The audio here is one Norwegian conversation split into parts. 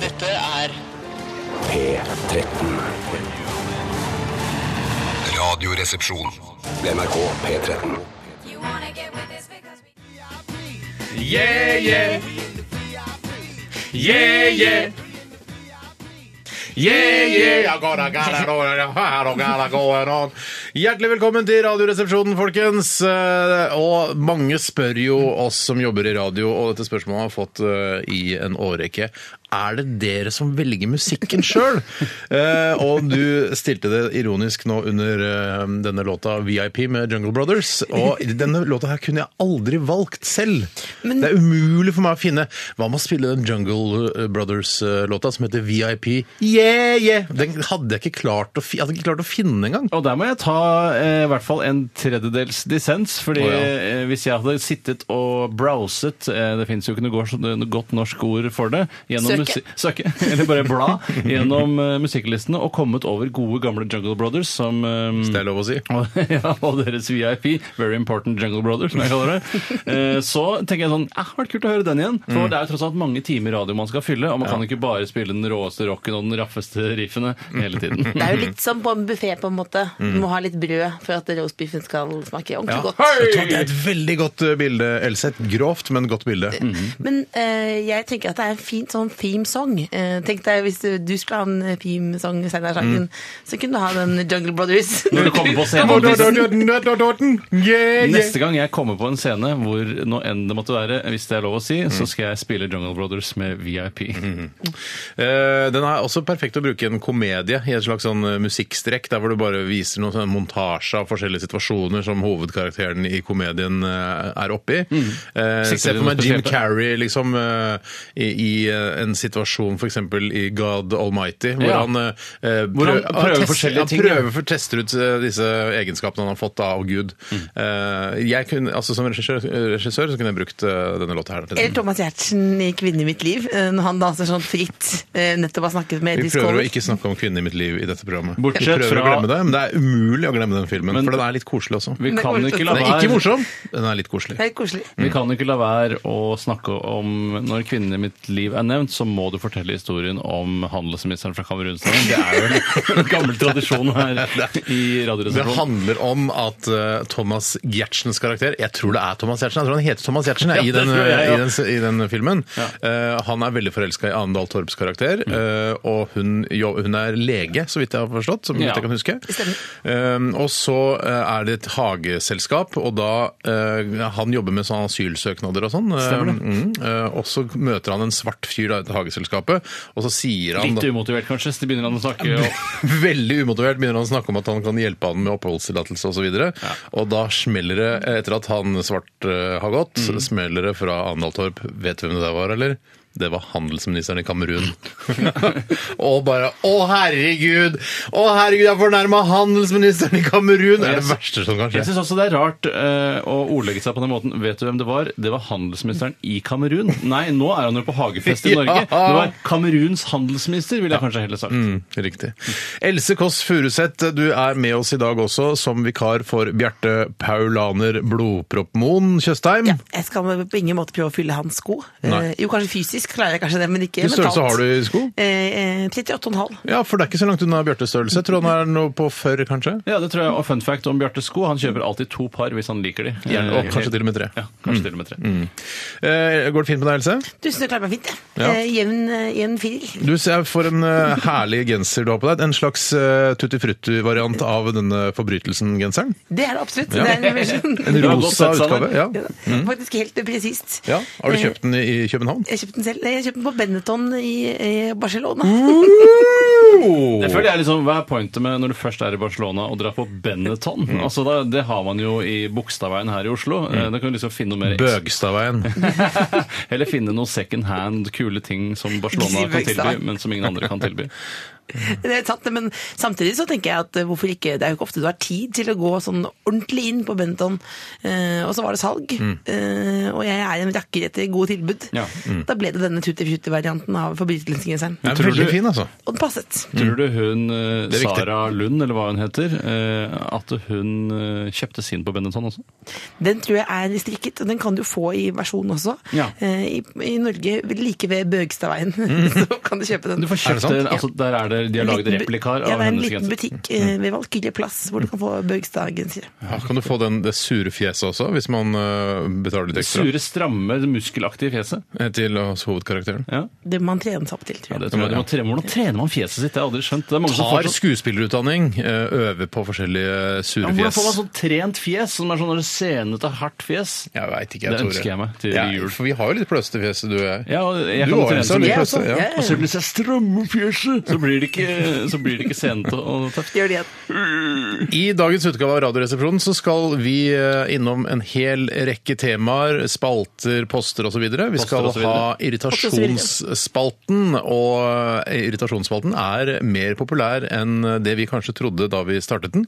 Dette er P13. Radioresepsjon. NRK P13. You wanna get with this because we Yeah, yeah. Yeah, yeah. Yeah, yeah. I gotta, gotta, gotta, gotta, gotta going on. Hjertelig velkommen til Radioresepsjonen, folkens. Eh, Og mange spør jo oss som jobber i radio, og dette spørsmålet har jeg fått eh, i en årrekke. Er det dere som velger musikken sjøl? Og du stilte det ironisk nå under eh, denne låta VIP med Jungle Brothers. Og denne låta her kunne jeg aldri valgt selv. Det er umulig for meg å finne. Hva med å spille den Jungle Brothers-låta som heter VIP? Yeah, yeah! Den hadde jeg ikke klart å, fi- jeg hadde ikke klart å finne engang. Og der må jeg ta eh, i hvert fall en tredjedels dissens, Å, fordi ja. eh, hvis jeg hadde sittet og browset, eh, det finnes jo ikke noe godt, noe godt norsk ord for det, gjennom Søke. musi- søke, eller bare bla, gjennom eh, musikklistene og kommet over gode gamle Jungle Brothers som eh, Det er lov å si. og, ja, og deres VIP, Very Important Jungle Brothers, som jeg kaller det, eh, så tenker jeg sånn eh, det vært kult å høre den igjen. For Mm. det er jo tross alt mange timer radio man skal fylle, og man kan ikke bare spille den råeste rocken og den raffeste riffene hele tiden. Det er Mhm. jo litt som på en buffé, på en måte. Mm. Du må ha litt brød for at roastbeefen skal smake ordentlig godt. Jeg tror det er et veldig godt eh, bilde, Elseth. Grovt, men godt bilde. Men eh, jeg tenker at det er en fin sånn theme song. Eh, tenk deg hvis du, du skulle ha en eh, theme song senere i sangen, Mm. så kunne du ha den Jungle Brothers. Når du kommer på scenen Dot, dot, dot, dot, dot, dot, dot. Yeah, yeah. Neste gang jeg kommer på en scene hvor nå enn det måtte være, hvis det er lov å si, så skal jeg spille Jungle Brothers med VIP. Mhm. Eh, Den er også perfekt å bruke i en komedie, i en slags sånn eh, musikkstrekk, der hvor du bare viser noen sånn montasje av forskjellige situasjoner som hovedkarakteren i komedien eh, er oppi. Eh, Sikter Se du for meg Mm. noe Jim spesielt? Carrey liksom, eh, i, i eh, en situasjon f.eks. i God Almighty, hvor Ja. han, eh, Hvor han prøver tester- forskjellige ting, Han ja. prøver, for- tester ut eh, disse egenskapene han har fått av Gud. Mm. Eh, Jeg kunne, altså, som regissør, regissør så kunne jeg brukt eh, denne låta her. til Eller Thomas Giertsen i 'Kvinne i mitt liv', eh, når han danser sånn fritt. eh, nettopp har snakket med Vi Edith prøver å Skåler. ikke snakke om kvinner i mitt liv i dette programmet. Bortsett vi prøver fra- å glemme det, men det er umulig å glemme den filmen, Men- for den er litt koselig også. Vi Men kan orker ikke ikke. la Den er ikke være morsom, den er litt koselig. Det er litt koselig. Mm. Vi kan ikke la være å snakke om Når kvinnen i mitt liv er nevnt, så må du fortelle historien om handelsministeren fra Kamerunstaden. Det er jo en gammel tradisjon her i Det Radioresepsjonen. handler om at eh, Thomas Giertsens karakter Jeg tror det er Thomas Giertsen. Jeg tror han heter Thomas Giertsen jeg, Ja, i, det den, tror jeg, eh, ja. i, den, s- i den filmen. Ja. Mm. Eh, han er veldig forelska i Anne Dahl Torps karakter, eh, og hun, jo, hun er lege, så vidt jeg har forstått. Som Ja. jeg kan huske. Eh, og så eh, er det et hageselskap, og da eh, Han jobber med sånne asylsøknader og sånn. eh, mm, eh, og så møter han en svart fyr da, i dette hageselskapet, og så sier han Litt umotivert, kanskje. Så begynner han å snakke og Veldig umotivert begynner han å snakke om at han kan hjelpe han med oppholdstillatelse osv. videre Og da smeller det, etter at han svart eh, har gått, smeller det fra Arendal Torp. Vet du hvem det der var, eller? Det var handelsministeren i Kamerun. og bare Å, herregud! Å, herregud, jeg fornærma handelsministeren i Kamerun! Det er det verste som kan Jeg skje. syns også det er rart eh, å ordlegge seg på den måten. Vet du hvem det var? Det var handelsministeren i Kamerun. Nei, nå er han jo på hagefest i Ja. Norge. Det var Kameruns handelsminister, ville jeg kanskje heller sagt. Mm, riktig. Else Kåss Furuseth, du er med oss i dag også som vikar for Bjarte Paulaner Blodproppmoen Tjøstheim. Ja, jeg skal på ingen måte prøve å fylle hans sko. Eh, Nei. jo, kanskje fysisk klarer jeg kanskje det, men ikke Hvilken størrelse har du i sko? Eh, eh, 38,5. Ja, for det er ikke så langt unna Bjartes størrelse. Jeg tror han er noe på 40, kanskje. Ja, det tror jeg. Og fun fact om Bjarte Sko, han kjøper alltid to par hvis han liker de. Gjerne, og kanskje til og med Mm. tre. Ja, kanskje til og med tre. Eh, går det fint med deg, Else? Du synes jeg klarer meg fint, jeg. Ja. Eh, jevn, eh, jevn firer. Du ser for en eh, herlig genser du har på deg. En slags eh, tutti frutti-variant av denne forbrytelsen-genseren. Det er det absolutt. Det er en versjon. En Du har godt rosa sett Eh. sammen. utgave. Ja. Ja, Faktisk helt presist. Eh, ja. Har du kjøpt den i i København? Jeg kjøpte den selv. Nei, Jeg kjøpte den på Benetton i eh, Barcelona. Mm. Jeg føler jeg liksom, Hva er pointet med når du først er i Barcelona og drar på Benetton? Mm. Altså, da, Det har man jo i Bogstadveien her i Oslo. Eh, Da kan du liksom finne noe mer eks- Bøgstadveien. Eller finne noe second hand, kule ting som Barcelona Ikke si kan tilby, Bøgstad. men som ingen andre kan tilby. Det er sant, men samtidig så tenker jeg at eh, hvorfor ikke Det er jo ikke ofte du har tid til å gå sånn ordentlig inn på Benton. Eh, og så var det salg, Mm. eh, og jeg er en rakker etter gode tilbud. Ja, Mm. Da ble det denne tutti-frutti-varianten av forbrytelsesgenseren. Den er Tror veldig du- fin, altså. Og den passet. Tror du hun eh, Det er viktig. Sara Lund, eller hva hun heter, eh, at hun eh, kjøpte sin på Benetton også? Den tror jeg er strikket, og den kan du få i versjon også. Ja. Mm. Eh, I, I Norge like ved Bøgstadveien, så kan du kjøpe den. Du får Er det kjøpt sant? det altså, Der er det, de har laget Liten bu- replikar ja, av det er en hennes liten genser. butikk eh, Mm. ved Valkyrje plass hvor du kan få Bøgstad-gensere. Ja, kan du få den, det sure fjeset også, hvis man øh, betaler litt ekstra Sure, stramme, muskelaktige fjeset. eh, til hos hovedkarakteren? Ja. Det må man trene seg opp til, Ja, tror jeg. det tror jeg. Du må trene. Hvordan trener man fjeset sitt? Det har jeg aldri skjønt. Det er mange som Har får sånn- skuespillerutdanning, øh, øver på forskjellige ja, sure hvordan fjes. får man sånn trent fjes? Som er sånn senete, hardt fjes? Jeg veit ikke, jeg, Det Tore. ønsker jeg meg til ja, jul. For vi har jo litt pløste fjes, du og jeg. Ja, og jeg Du kan har trene jo så så mye mye. Jeg pløste. også, Ja. jeg. Og selv hvis jeg strammer fjeset, så blir det ikke, så blir det ikke senete og tøft. Gjør det igjen. I dagens utgave av Radioresepsjonen så skal vi eh, innom en hel rekke temaer, spalter, poster osv. Vi skal og så videre. ha irritasjonsspalten, og eh, irritasjonsspalten er mer populær enn det vi kanskje trodde da vi startet den.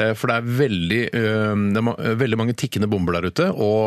Eh, For det er veldig, eh, det er ma- veldig mange tikkende bomber der ute, og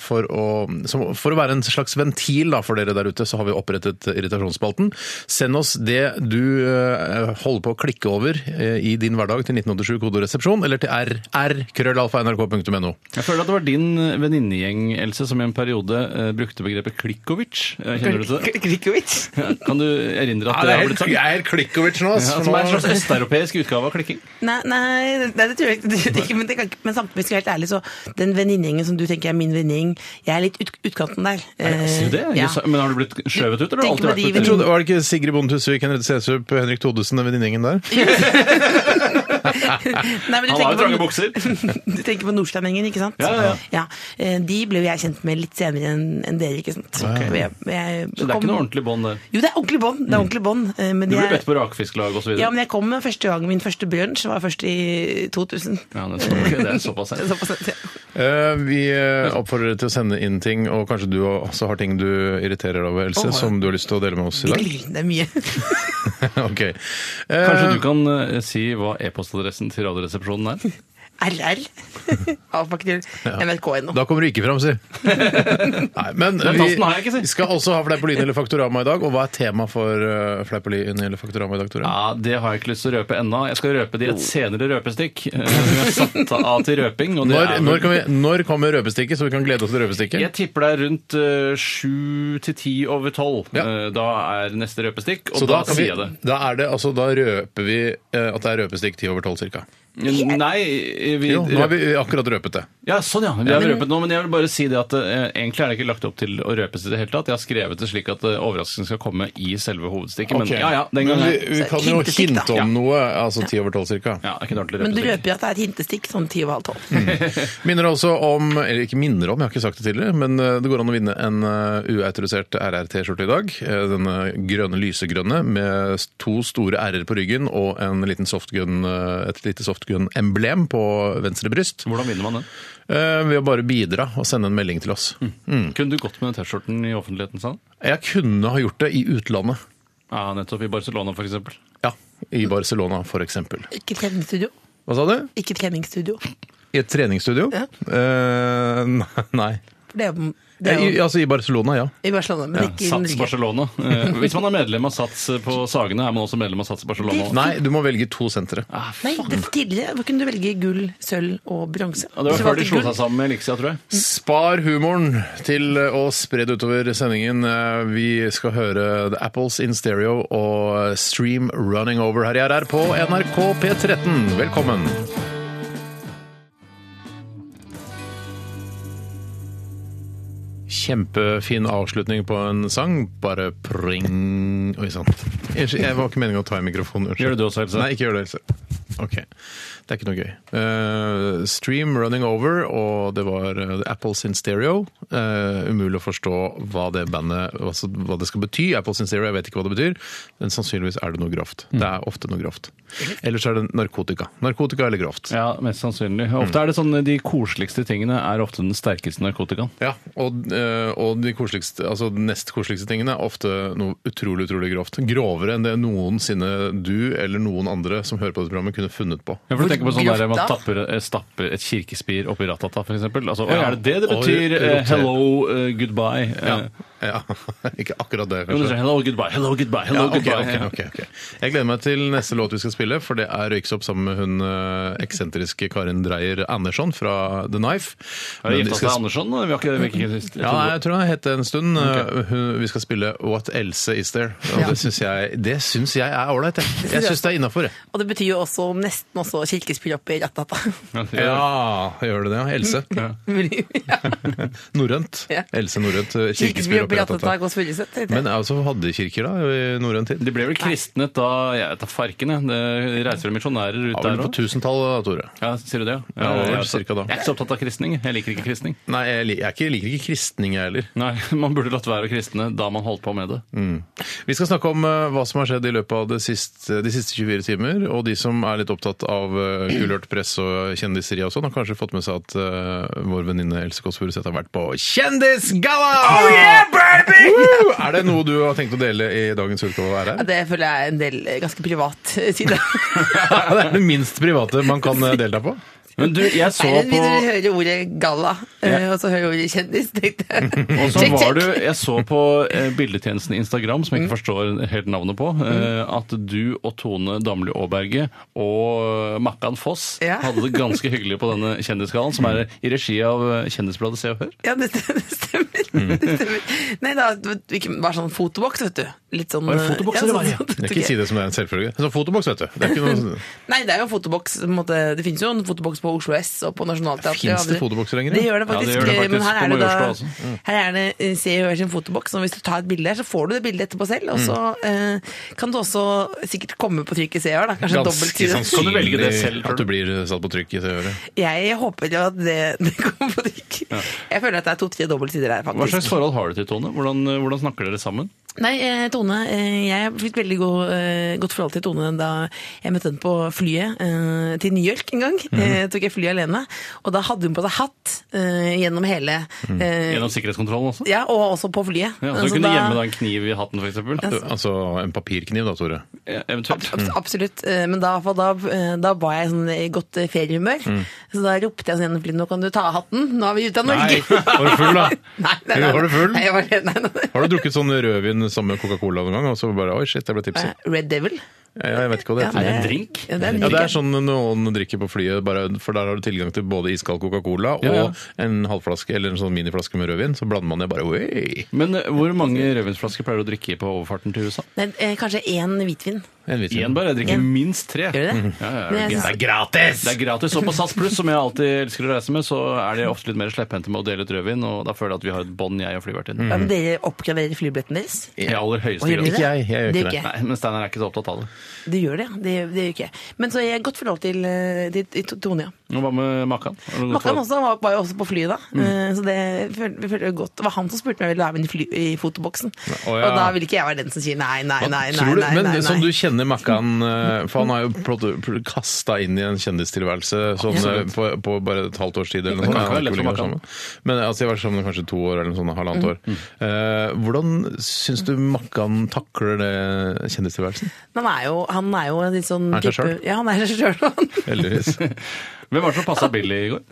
for å, som- for å være en slags ventil da, for dere der ute, så har vi opprettet irritasjonsspalten. Send oss det du eh, holder på å klikke over eh, i din hverdag til 1987 kodoresepsjon, eller til rr.krøllalfa.nrk.no. Jeg føler at det var din eh, venninnegjeng, Else, som i en periode eh, brukte begrepet klikkovic. Eh, Kjenner du til det? Kri- Krikovic. Ja, Kan du erindre at det har blitt sagt? Ja, er klikkovic nå. som er en slags østeuropeisk utgave av klikking. Nei, nei, nei, det tror jeg ikke. Det- det- Men, det kan, ikke- men samtidig skal jeg være helt ærlig, så den venninnegjengen som du tenker er min venninnegjeng, jeg er litt ut, utkanten der. Sier du det? Eh, ja. Jøss, Men har du blitt skjøvet ut, eller har Tenk du på alltid de vært Jeg ut? trodde, var det ikke Sigrid Bonde Tusvik, Henriette Sesup, Henrik Thodesen, den venninnegjengen der? Nei, men Han har jo du tenker trange på- bukser. du tenker på Nordsteinengen, ikke sant? Ja, ja, eh, De ble jo jeg kjent med litt senere enn enn dere, ikke sant? Og jeg- jeg Så det er kom- ikke noe ordentlig bånd der. Jo, det er ordentlig bånd. Det er ordentlig bånd. eh, men Du jeg- ble bedt på rakfisklag osv. Ja, men jeg kom med første gang min første brunsj, var først i 2000. Ja, det er så- ok, det er såpass her. Såpass sent, ja. Eh, Vi eh, oppfordrer dere til å sende inn ting, og kanskje du også har ting du irriterer deg over, Else, Å, ja. som du har lyst til å dele med oss i dag. Det er mye. Ok. Eh, Kanskje du kan eh, si hva e-postadressen til Radioresepsjonen er? RR. Avpakket til nrk.no. Da kommer du ikke fram, si. Nei, men Den tasten har jeg ikke, si. vi skal også ha Fleip og lyn eller Faktorama i dag. Og hva er tema for uh, Fleip og lyn eller Faktorama i dag, Tore? Ja, Det har jeg ikke lyst til å røpe ennå. Jeg skal røpe Oh. det i et senere røpestikk. eh, som jeg har satt av til røping. Og det Når, er vel- når, kan vi, når kommer røpestikket, så vi kan glede oss til Jeg røpestikket? tipper det er rundt eh, sju til ti over tolv. Ja. Eh, Da er neste røpestikk, og Så da, da, kan vi, sier jeg det. da, er det, altså, da røper vi eh, at det er røpestikk ti over tolv ca. Nei eh, vi, Jo, nå har vi akkurat røpet det. Ja, sånn ja. Vi har røpet nå, men jeg vil bare si det at eh, egentlig er det ikke lagt opp til å røpes i det hele tatt. Jeg har skrevet det slik at eh, overraskelsen skal komme i selve hovedstikket. Ok. Men ja, ja, den gangen Men vi, er- vi Så kan jo hintestikk, hinte da. om Ja. noe, altså ti over tolv ca. ja, det er ikke en ordentlig Men du røpestikk. røper jo at det er et hintestikk sånn ti og halv tolv. Mm. Minner også om, eller ikke minner om, jeg har ikke sagt det tidligere, men eh, det går an å vinne en eh, uautorisert RR-T-skjorte i dag. Eh, Denne grønne, lysegrønne med s- to store R-er på ryggen og en liten softgun, eh, et lite softgun-emblem på venstre bryst. Hvordan vinner man den? Eh, Ved å bare bidra og sende en melding til oss. Mm. Kunne du gått med den T-skjorten i offentligheten, sa han? Jeg kunne ha gjort det i utlandet. Ja, nettopp. I Barcelona, for eksempel. Ja, i Barcelona for eksempel. Ikke treningsstudio. Hva sa du? Ikke treningsstudio. I et treningsstudio? Ja. Eh, nei. For det er jo det er I, jo altså i Barcelona, ja. i Barcelona, men ikke i Sats Norge. Barcelona. Eh, Hvis man er medlem av Sats på Sagene, er man også medlem av Sats Barcelona. også. Nei, du må velge to sentre. Ah, Nei, det er tidligere Hvor kunne du velge gull, sølv og bronse. Ja, det var før Så de valgte slo gull. seg sammen med Elixia, tror jeg. Spar humoren til eh, å spre det utover sendingen. Eh, Vi skal høre The Apples in Stereo og Stream Running Over her i RR på NRK P13. Velkommen! Kjempefin avslutning på en sang. Bare pring Oi sann. Jeg jeg var ikke meningen å ta i mikrofonen. unnskyld. Gjør det du også, Else? Nei, ikke gjør det, Else. Ok, det er ikke noe gøy. Eh, stream Running Over, og det var eh, Apples in Stereo. Eh, umulig å forstå hva det bandet altså, hva det skal bety. Apples in Stereo, jeg vet ikke hva det betyr, men sannsynligvis er det noe grovt. Mm. Det er ofte noe grovt. Ellers er det narkotika. Narkotika eller grovt. Ja, mest sannsynlig. Ofte er det sånn De koseligste tingene er ofte den sterkeste narkotikaen. Ja, og, eh, og de koseligste, altså de nest koseligste tingene er ofte noe utrolig utrolig grovt. Grovere enn det noensinne du eller noen andre som hører på dette programmet kunne funnet på. Ja, for du Hvor tenker på sånn der Man grotta? tapper, eh, stapper et kirkespir oppi ratata, f.eks. Altså, «Å, Ja. Er det det det Og betyr? eh, roterer. hello, eh, goodbye. eh, Ja, ja. ikke akkurat det. jo, det kanskje. sier hello, goodbye, hello, goodbye, hello, Ja, ok, goodbye. ok, ok, ok. Jeg gleder meg til neste låt vi skal spille, for det er Røyksopp sammen med hun eh, eksentriske Karin Dreyer Andersson fra The Knife. Har de Men vi gifta seg skal- Andersson? Vi har ikke, vi har ikke Ja, nei, jeg tror hun het det en stund. Eh, hun- Vi skal spille What Else Is There. Og det syns jeg, det syns jeg er ålreit. Jeg, jeg syns det er innafor. Og det betyr jo også nesten også kirkespill oppi rattata. Ja, gjør det det? ja? Else. Norrønt. Ja. Else Norrønt. eh, kirkespill Kirkespill oppi oppi rattata ratata. er godt spørresett. heter det. Men altså, hadde kirker da i norrøn tid? De ble vel kristnet da Jeg vet da farken, jeg. Det reiser vel misjonærer ut Ja, vel der på òg? tusentallet, da, Tore. Ja, sier du det? Ja, Ja, det var vel jeg, er- cirka da. jeg er ikke så opptatt av kristning. jeg. Jeg liker ikke kristning. Nei, jeg, lik- jeg er ikke- liker ikke kristning, jeg heller. Nei, Man burde latt være å kristne da man holdt på med det. Mm. Vi skal snakke om eh, hva som har skjedd i løpet av det siste, de siste 24 timer. Og de som er litt opptatt av eh, kulørt press og kjendiseri og sånn, har kanskje fått med seg at eh, vår venninne Else Kåss Furuseth har vært på Kjendisgalla! Oh yeah, baby! Woo! Er det noe du har tenkt å dele i dagens utgave av Ja, RR? Det føler jeg er en del eh, ganske privat eh, side. Det er det minst private man kan eh, delta på. Men du, jeg så Nei, men på Når du hører ordet galla, eh, og så hører du ordet kjendis, tenkte jeg. og så Check, var check. du, Jeg så på eh, bildetjenesten Instagram, som jeg Mm. ikke forstår helt navnet på, eh, at du og Tone Damli Aaberge og eh, Makkan Foss Ja. hadde det ganske hyggelig på denne kjendisgallaen, som er i regi av eh, Kjendisbladet Se og Hør. Ja, det stemmer. Det stemmer. Mm. Det stemmer. Nei da, det var sånn fotoboks, vet du. Litt sånn Var det fotoboks ja, det var, ja? sånn- Jeg kan ikke si det som det er en selvfølge. Så fotoboks, vet du. Det er ikke noe... sånn Nei, det er jo fotoboks. på en måte. Det finnes jo en fotoboks på Oslo S og på Nationaltheatret. Finnes det og andre- fotoboks lenger, ja? Det gjør Ja, det det faktisk. gjør det faktisk. Men her er det, På altså. Mm. Majorstua da, også. her er det eh, Se og Hør sin fotoboks. Og hvis du tar et bilde her, så får du det bildet etterpå selv. Mm. Og så eh, kan du også sikkert komme på trykk i Se og Hør, da. Kanskje en sånn dobbelt side. Kan du velge det selv, at tror du? du blir satt på trykk i det øret. Jeg håper jo at det, det kommer på trykk. Jeg føler at det er to-tre dobbeltsider her, Hva faktisk. slags forhold har du til Tone? Hvordan, eh, hvordan snakker dere sammen? Nei, eh, Tone, eh, jeg fikk veldig god, eh, godt forhold til Tone da jeg møtte henne på flyet eh, til New York en gang. Eh, tok jeg flyet alene, og da hadde hun på seg hatt eh, gjennom hele eh, Gjennom sikkerhetskontrollen også? Ja, og også på Ja, flyet. så Altså, du kunne da- gjemme deg en kniv i hatten, f.eks.? Du, altså en papirkniv, da, Tore. Eventuelt. Abs- Absolutt, eh, men da, for da, eh, da var jeg sånn i godt eh, feriehumør. Så da ropte jeg sånn gjennom flyet, nå kan du ta av hatten, nå er vi ute av Norge. Var du full, da? Nei, nei, nei. Var du full? Nei, jeg var, nei, nei, nei. Har du drukket sånn rødvin sammen med Coca-Cola noen gang, og så bare oi, shit, jeg ble tipsy? Eh, Red Devil. Ja, Jeg vet ikke hva det Ja, heter. en drink? Ja, det er en Ja, drink. det er sånn noen drikker på flyet, bare, for der har du tilgang til både iskald Coca-Cola og Ja, ja. en halvflaske eller en sånn miniflaske med rødvin. Så blander man det bare oi, Men eh, hvor mange rødvinsflasker pleier du å drikke på overfarten til USA? Nei, eh, kanskje én hvitvin. en hvitvin. Én bare. Jeg drikker minst tre. Gjør du det? Mm. Ja, ja, Men ja, jeg det synes- er gratis! Det er gratis. Og på SAS Pluss, som jeg alltid elsker å reise med, så er de ofte litt mer slepphendte med å dele ut rødvin, og da føler jeg at vi har et bånd, jeg og flyvertinnen. Ja, men dere oppgraderer flybilletten deres? I aller høyeste Å, gjør grad. dere Ikke jeg, jeg gjør ikke det gjør det. ikke Nei, jeg. men Steinar er ikke så opptatt av det. Du gjør det, ja. Det, det gjør ikke jeg. Men så jeg har godt forhold til, eh, til, til Tone, ja. Og Hva med makan? Har du gått Makkeren for- også var, var jo også på flyet da, Mm. eh, så det følte vi følte jo godt. Det var han som spurte meg om jeg ville være med i, fly, i fotoboksen. å, ja. Og da ville ikke jeg være den som sier nei, nei, nei, nei, Tror du, nei, men nei, som du nei. kjenner Makkan eh, For han har jo kasta inn i en kjendistilværelse sånn, eh, på, på bare et halvt års tid. Eller noe Det kan ikke sånt. være lett for Han har ikke Makkan. vært sammen. Men altså, jeg har vært sammen kanskje to år eller noe sånt, halvannet år. Eh, hvordan syns du Makkan takler det kjendistilværelsen? Han er jo, han er jo en litt sånn Er han seg type... selv? Ja, han er seg selv. han. Heldigvis. Hvem var det som passa Billy i går?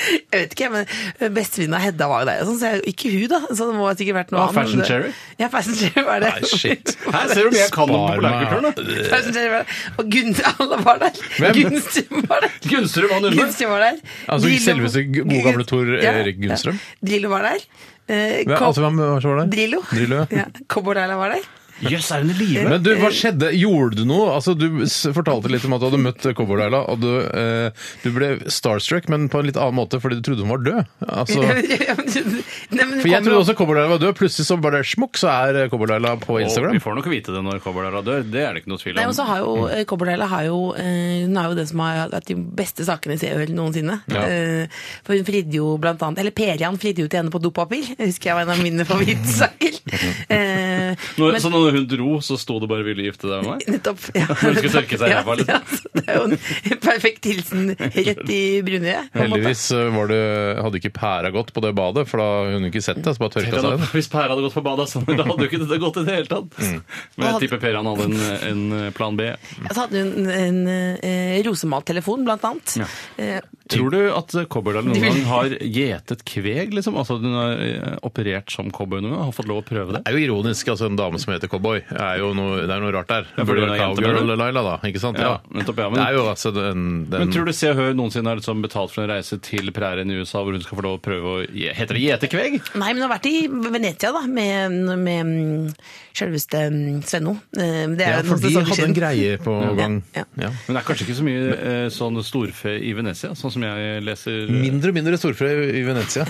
Jeg vet ikke, men eh, bestevenninna Hedda var jo der. og Sånn, så jeg, ikke hun, da. Så det må ha sikkert vært noe Ah, Fashion Cherry? Ja, Fashion Cherry var det. Nei, shit. Her ser du om jeg kan om Spar meg. populærkulturen, da! Fashion Cherry var der. Og Gunn, alle var der. Hvem? Gunnstrøm var der. Gunstrøm og Nunne. Gunnstrøm var der. Altså, Drillo- selveste gode gamle Tor Ja, Erik Gunnstrøm? Ja. Drillo var der. Eh, Hvem, Cobb- altså, hvem var det? Drillo. Drillo, ja. Ja. Cowboy Laila var der. Jøss, er hun i live? Men du, hva skjedde? Gjorde du noe? Altså, du s- fortalte litt om at du hadde møtt Coverdaila, og du, eh, du ble starstruck, men på en litt annen måte, fordi du trodde hun var død. Altså, Nei, men du for jeg kommer trodde jo- også Coverdaila var død. Plutselig så bare smukk, så er Coverdaila på Og vi Instagram. får nok vite det når Kobberdahl dør. Det er det ikke noe tvil Nei, og om. så har jo eh, Copperdale har jo, eh, Hun er jo den som har hatt de beste sakene i CØL noensinne. Ja. Eh, for hun fridde jo blant annet Eller Perian fridde jo til henne på dopapir. Det husker jeg var en av mine favorittsaker. eh, Når, men- så når hun dro, så sto det bare 'ville gifte deg med meg'? Nettopp. Ja. Når hun skulle tørke seg i Ja, ræva, liksom. ja, så det er jo en perfekt hilsen rett i brunøyet. på en måte. Heldigvis eh, var det, hadde ikke pæra gått på det badet, for da hadde hun ikke sett det. Så bare tørka seg den. Altså, Hvis Per hadde gått på badet sammen, da hadde jo ikke dette gått i det hele tatt. Mm. Men jeg tipper Per han hadde en, en plan B. Så hadde hun en, eh, rosemalt telefon, blant annet. Eh, Tror du at Cobberdal noen De vil- gang har gjetet kveg, liksom? Altså at hun har eh, operert som cowboy noen gang? Har fått lov å prøve det? Det er jo ironisk. altså En dame som heter cowboy, er jo noe, det er noe rart der. Ja, Det fordi burde hun er vært jente, mener cowgirl du? Laila, da. ikke sant? Ja, nettopp, ja, men- Det er jo altså den, den Men tror du Se og Hør noensinne har liksom betalt for en reise til prærien i USA hvor hun skal få lov å prøve å gje- Heter det gjete kveg? Nei, men hun har vært i Venezia, da, med, med mm, selveste mm, Svenno. Eh, Det er ja, jo noen For de sesonger hadde siden. en greie på gang. Ja. Ja. Men det er kanskje ikke så mye eh, sånn storfe i Venezia, sånn som jeg leser Mindre og mindre storfrø i Venezia.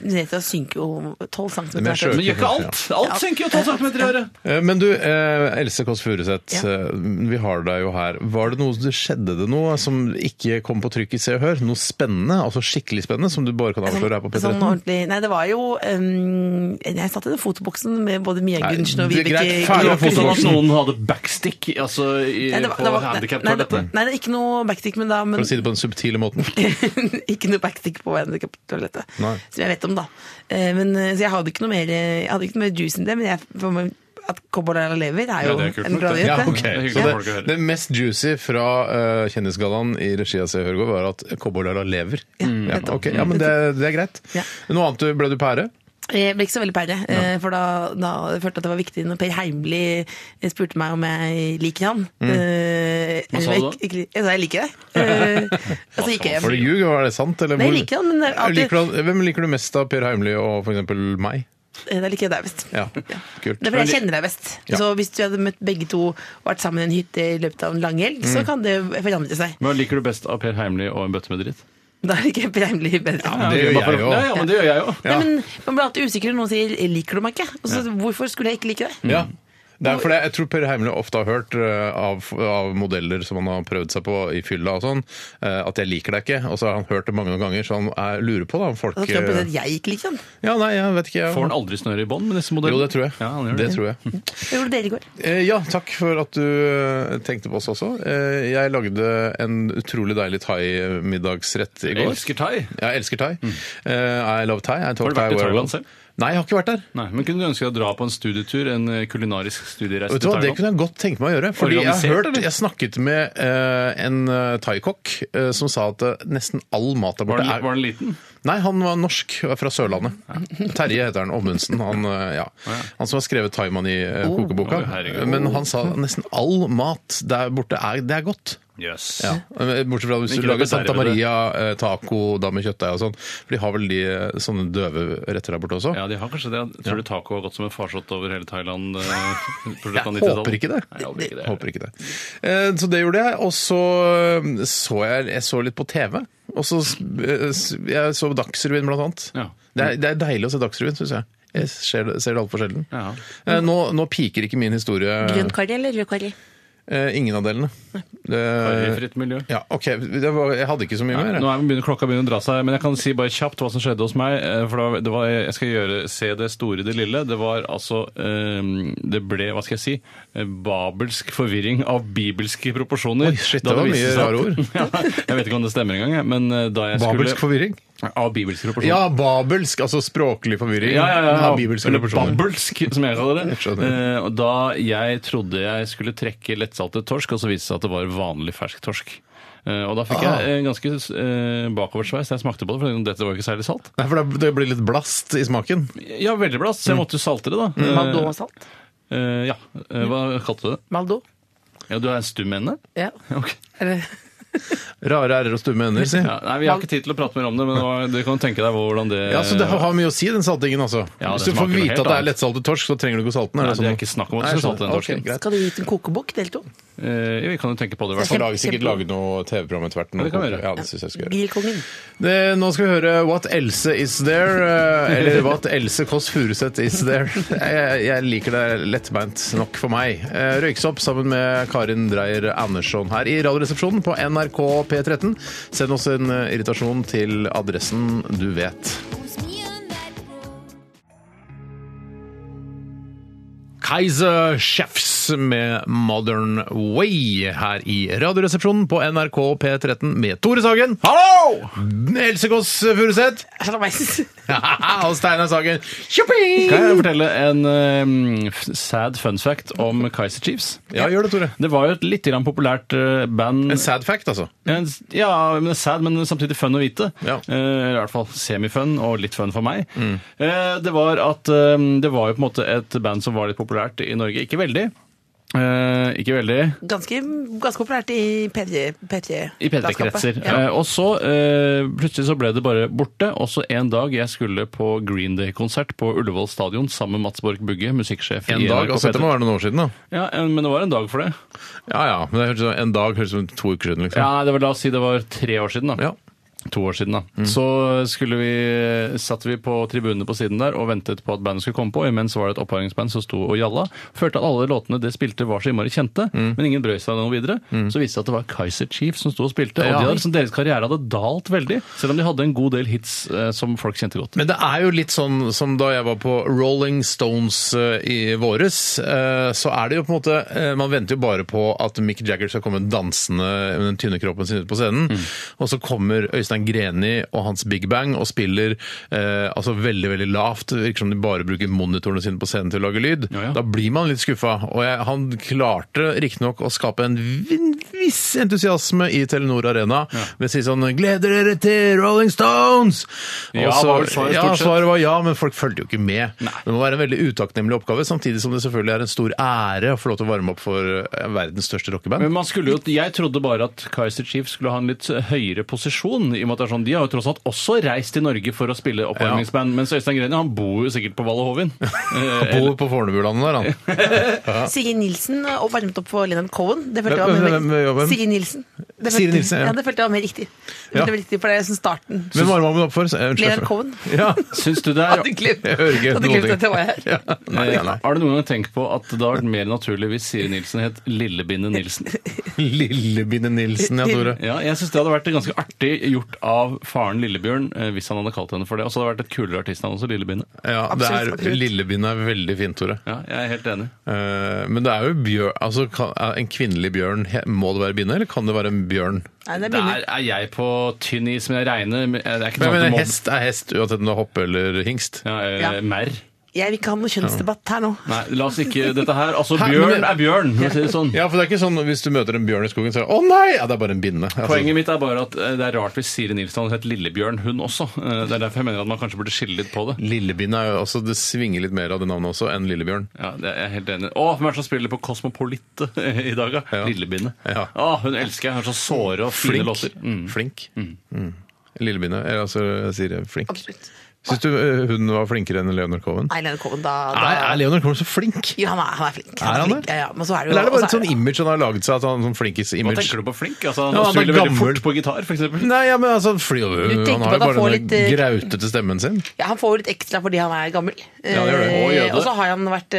Venezia synker jo 12 cm. Men sjø- Men gjør ikke alt! Alt synker jo 12 cm i året! Eh, Men du, eh, Else Kåss Furuseth, Ja. eh, vi har deg jo her. Var det noe, skjedde det noe som ikke kom på trykk i Se og Hør? Noe spennende, altså skikkelig spennende, som du bare kan avsløre her på P13? Sånn ordentlig Nei, det var jo um, Jeg satt i den fotoboksen med både Mia Nei, Gundersen og det er Vibeke greit. Det Ferdig med var ikke sånn at fotoboksen. noen hadde backstick altså, i, Nei, det var- på det var- nei, det- handikaptoalettet. Nei, det er ikke noe backstick, men da men, For å si det på den subtile måten. Ikke noe backstick på handikaptoalettet. Nei. Som jeg vet om, da. Eh, Men, eh, så jeg hadde ikke noe mer, eh, jeg hadde ikke noe mer juice enn det, men jeg, for meg, at Cobboldala lever, er jo Ja, det er kult en nok, bra det. nyhet. Ja, det. ok. Det er hyggelig Så at folk det, hører. det mest juicy fra eh, Kjendisgallaen i regi av Se og Hør i går, var at Cowboydala lever. Mm. Ja, ok. ja, men det, det er greit. Ja. Noe annet, ble du pære? Jeg ble ikke så veldig pære, eh, for da, da jeg følte jeg at det var viktig når Per Heimli eh, spurte meg om jeg liker han. Mm. eh, Hva sa du da? Jeg sa jeg liker deg. Eh, Og så gikk jeg Var hjem. det ljug? Var det sant? Eller Nei, jeg hvor- liker han, men det er alltid- liker du, han- Hvem liker du mest av Per Heimly og for eksempel meg? Eh, Da liker jeg deg best. Ja, kult. Det er fordi jeg kjenner deg best. Ja. Så hvis du hadde møtt begge to og vært sammen i en hytte i løpet av en lang helg, så Mm. kan det forandre seg. Hva liker du best av Per Heimly og en bøtte med dritt? Da liker jeg Per Heimli bedre. Ja, det gjør jeg jo. Ja, ja, men det gjør jeg jo. Ja. Nei, men Man blir alltid usikker når noen sier 'liker du meg ikke?' Og så, Hvorfor skulle jeg ikke like deg? Ja. Mm. Det er fordi jeg tror Per Heimly ofte har hørt eh, av, av modeller som han har prøvd seg på i fylla og sånn, eh, at 'jeg liker deg ikke', og så har han hørt det mange ganger, så han er, lurer på da om folk Da tror jeg plutselig eh, at jeg ikke liker han. Ja, nei, jeg vet ikke. Jeg, Får han aldri snøre i bånd med disse modellene? Jo, det tror jeg. Ja, han gjør det det. tror jeg. Det gjorde dere i går. Eh, Ja, takk for at du eh, tenkte på oss også. Eh, Jeg lagde en utrolig deilig thai-middagsrett i Jeg går. elsker thai. Jeg elsker thai. Eh, I love thai. I Har talk du vært thai very i well. Thailand selv? Nei, jeg har ikke vært der. Nei, men Kunne du ønske deg å dra på en studietur, en eh, kulinarisk studiereise Vet du til hva, Det Thailand? kunne jeg godt tenke meg å gjøre. Fordi jeg, har Organisert, hørt, eller? jeg snakket med eh, en eh, thaikokk eh, som sa at eh, nesten all mat der Var borte den, var er den liten? Nei, han var norsk og er fra Sørlandet. Terje heter han, Ommundsen. Han, eh, ja. han som har skrevet Thaiman-kokeboka. Å, Oh, herregud. Men han sa nesten all mat der borte er, det er godt. Jøs. Yes. Ja. Eh, Bortsett fra hvis Ikke du lager det Santa bedre, Maria eh, taco da med kjøttdeig og sånn. For de har vel de eh, sånne døve retter der borte også? Ja, de har kanskje det. Jeg tror du taco har gått som en farsott over hele Thailand? eh, på slutten av Jeg 90-tallet. håper ikke det. Nei, jeg håper ikke det. Håper ikke det. Eh, Så det gjorde jeg, og så eh, så jeg, jeg så litt på TV. Og så s- eh, s- jeg så Dagsrevyen blant annet. Ja. Det, er, det er deilig å se Dagsrevyen, syns jeg. Jeg ser det, ser det altfor sjelden. Ja. Eh, Nå, nå piker ikke min historie. Grønn karri eller rød karri? Eh, Ingen av delene. Det- Karrifritt miljø. Ja, OK. Det var, jeg hadde ikke så mye Nei, mer. jeg. Nå er vi begynner, klokka begynner å dra seg, men jeg kan si bare kjapt hva som skjedde hos meg. eh, For det var, det var, jeg skal gjøre, se det store i det lille. Det var altså eh, Det ble, hva skal jeg si, eh, babelsk forvirring av bibelske proporsjoner. Oi, shit, Da det var viste mye seg at- rare ord. ja, jeg vet ikke om det stemmer engang, jeg, men eh, da jeg Babelsk skulle forvirring? Av bibelske proporsjoner. Ja, babelsk, altså språklig forvirring. Ja, ja, ja. Av bibelske Eller proporsjoner. babbelsk, som jeg kaller det. Jeg skjønner. Eh, og da jeg trodde jeg skulle trekke lettsaltet torsk, og så viste det seg at det var vanlig fersk torsk. Eh, og da fikk Ah. jeg en ganske eh, bakoversveis da jeg smakte på det, for dette var jo ikke særlig salt. Nei, for det- det blir litt blast i smaken. Ja, veldig blast, Mm. så jeg måtte jo salte det, da. Maldo og salt? Eh, eh, ja. Eh, hva kalte du det? Maldo? Ja, du er en stum ende? Ja. Ok. Eller- Rare ærer og stumme ender, si. Ja, nei, Vi har ikke tid til å prate mer om det, men det var- du kan tenke deg hvordan det Ja, så Det har mye å si, den saltingen. altså. Eh, Ja, det Hvis du får smaker noe vite helt at det er annet. lettsaltet torsk, så trenger du ikke å salte den. Nei, det det er sånn? ikke snakk om at Nei, du skal jeg salte den skjønner. torsken. Ok, greit. Skal du gi ut en kokebok, del to? Eh, vi kan jo tenke på det, i hvert Vi fall. Kjempe- lager sikkert laget noe TV-program etter hvert. Ja, det kan vi gjøre. Ja, det synes jeg skal gjøre. Bilkongen. Det, nå skal vi høre What Else Is There? eh, Eller What Else Kåss Furuseth Is There? Jeg, jeg liker det lettbeint nok for meg. Eh, Røyksopp sammen med Karin Dreyer Andersson her i Radioresepsjonen på NRK P13. Send oss en eh, irritasjon til adressen du vet. Kaiser Chefs med Modern Way her i Radioresepsjonen på NRK P13 med Tore Sagen. Hallo! Else Kåss Furuseth. Slaveis. og Steinar Sagen. Kan Tjopping! jeg fortelle en eh, f- sad fun fact om Kaiser Chiefs? Ja, gjør det, Tore. Det var jo et litt grann populært eh, band En sad fact, altså. En- Ja, men det er sad, men samtidig fun å vite. Ja. Mm. Eh, eller I hvert fall semifun, og litt fun for meg. Eh, det var at eh, det var jo på en måte et band som var litt populært i Norge. Ikke veldig. Eh, ikke veldig Ganske, ganske populært i P3. P3 i P3-kretser. Ja. Eh, og så eh, plutselig så ble det bare borte. Og så en dag jeg skulle på Green Day-konsert på Ullevål stadion sammen med Mats Borch Bugge, musikksjef En i dag, NRK altså Dette P3. må være noen år siden, da. Ja, en- men det var en dag for det. Ja ja. men det høres ut som- En dag høres ut som to uker siden, liksom. Ja, det var, La oss si det var tre år siden. da. Ja. Mm. to år siden. da. Så skulle vi, satt vi på tribunene på siden der og ventet på at bandet skulle komme på. Imens var det et oppvarmingsband som sto og gjalla. Følte at alle låtene det spilte var så innmari kjente, Mm. men ingen brøy seg noe videre. Så viste det seg at det var Kaiser Chief som sto og spilte. Og Ja. de hadde, liksom, deres karriere hadde dalt veldig, selv om de hadde en god del hits eh, som folk kjente godt. Men det er jo litt sånn som da jeg var på Rolling Stones eh, i våres, eh, så er det jo på en måte eh, Man venter jo bare på at Mick Jagger skal komme dansende med den tynne kroppen sin ut på scenen. Mm. Og så kommer Øystein Greni og hans Big Bang og spiller eh, altså veldig, veldig lavt. Det virker som de bare bruker monitorene sine på scenen til å lage lyd. Ja, ja. Da blir man litt skuffa. Og jeg, han klarte riktignok å skape en vin- viss entusiasme i Telenor Arena ved å si sånn 'Gleder dere til Rolling Stones!' Ja, Og så- var vel svaret ja, stort sett. svaret var ja, men folk fulgte jo ikke med. Nei. Det må være en veldig utakknemlig oppgave, samtidig som det selvfølgelig er en stor ære å få lov til å varme opp for eh, verdens største rockeband. Men man skulle jo, Jeg trodde bare at Kaiser Chief skulle ha en litt høyere posisjon. i og med at det er sånn, De har jo tross alt også reist til Norge for å spille oppvarmingsband. Mens Øystein Greni han bor jo sikkert på Valle Hovin. Eh, Bor på Fornebulandet der, han. Sigrid Nilsen og varmet opp for Leonard Cohen. Det følte jeg Hvem- var mer hvem- hvem- hvem? Sigrid Nilsen. Det Sigrid Nilsen, ja. ja. det følte jeg var mer riktig. Det Ja. følte jeg var riktig, for det er sånn starten. Hvem varma man opp for? Eh, unnskyld. Leonard Cohen. Ja. Syns du det er Hadde glemt, Jeg hører ikke hadde noen glemt ting. at jeg var her. Ja. Nei, Eh, nei. Har du noen gang tenkt på at det hadde vært mer naturlig hvis Siri Nilsen het Lillebinde Nilsen? Lillebinde Nilsen, ja, Tore. Ja, jeg synes Det hadde vært ganske artig gjort av faren Lillebjørn eh, hvis han hadde kalt henne for det. Og så hadde det vært et kulere artistnavn også, Lillebinde. Ja, det er, Absolutt, absolutt. Lillebinde er veldig fint, Tore. Ja, jeg er helt enig. Eh, Men det er jo bjørn altså, kan, er En kvinnelig bjørn, he- må det være binde, eller kan det være en bjørn? Nei, det er Der begynner. er jeg på tynn is, men jeg regner med- Det er ikke Men, sånn at men du må hest er hest, uansett om det er hoppe eller hingst. ja, eh, Ja. Mer. Jeg vil ikke ha noe kjønnsdebatt her nå. Nei, la oss ikke Dette her Altså, Hæ, men bjørn det- er bjørn, for å si det sånn. Ja, for det er ikke sånn hvis du møter en bjørn i skogen, så er det 'Å nei!' Ja, det er bare en binne. Altså, Poenget mitt er bare at eh, det er rart hvis Siri Nilsen hadde hett Lillebjørn, hun også. Eh, Det er derfor jeg mener at man kanskje burde skille litt på det. Lillebinne er jo også, det svinger litt mer av det navnet også enn Lillebjørn. Ja, det er jeg helt enig. Å, hvem er det som spiller på Cosmopolite i dag, da? Ja. Lillebinde. Ja. Å, hun elsker jeg. Hun har så såre og fine Flink. låter. Mm. Flink. Mm. Lillebinne. eh, Altså, jeg sier flink. Absolutt. Syns du eh, hun var flinkere enn Leonard Cohen? Nei, Leonard Cohen, da, da Er, er Leonard Cohen så flink? Jo, han er, han er flink. Er han flink. det? Ja, ja, men så er Eller det altså- jo er det bare og et så er sånn image han har laget seg? At han er sånn Hva flinkis-image? tenker du på flink? Altså, han Ja, han er spiller veldig gammel. fort på gitar, f.eks. Nei, ja, men altså, fordi, Du han har tenker på at jo han bare får den litt, eh, grautete stemmen sin. Ja, Han får jo litt ekstra fordi han er gammel. det gjør det. Og Eh, jøde. og så har han vært eh,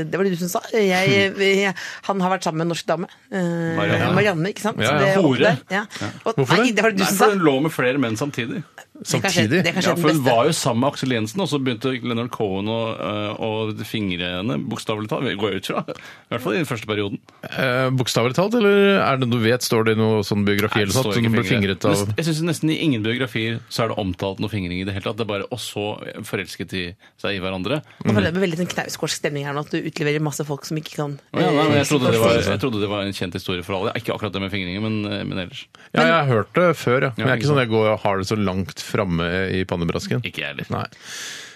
eh, Det var det du som sa. Hmm. Jeg, eh, jeg, han har vært sammen med en norsk dame. Eh, Marianne. Marianne, ikke sant? Ja, ja. Det er opp Hore. der. Ja. Og, Hvorfor nei, det? det var det du Nei, som sa. for hun lå med flere menn samtidig. Det er kanskje- Samtidig. Det er Ja, kanskje for den Hun beste. var jo sammen med Aksel Jensen, og så begynte Leonard Cohen å, øh, å fingre henne, bokstavelig talt, går jeg ut fra. I hvert fall i den første perioden. Eh, Bokstavelig talt, eller er det noe du vet? Står det i noe sånn biografi eller Nei, sånt står ikke som ble fingre. fingret av Nest- Jeg synes nesten i ingen biografier så er det omtalt noe fingring i det hele tatt. Det er bare Og så forelsket de seg i hverandre. Nå Mm. føler jeg det blir veldig sånn knausgårdsk stemning her nå, at du utleverer masse folk som ikke kan Å Ja, nei, men jeg, trodde det var, Forståelse. jeg trodde det var en kjent historie for alle. Ikke akkurat det med fingringen, men, eh, men ellers. Ja, jeg har hørt det før, ja. Men jeg er ikke ikke sånn at jeg går og har det så langt framme i pannebrasken. Ikke jeg heller. Nei.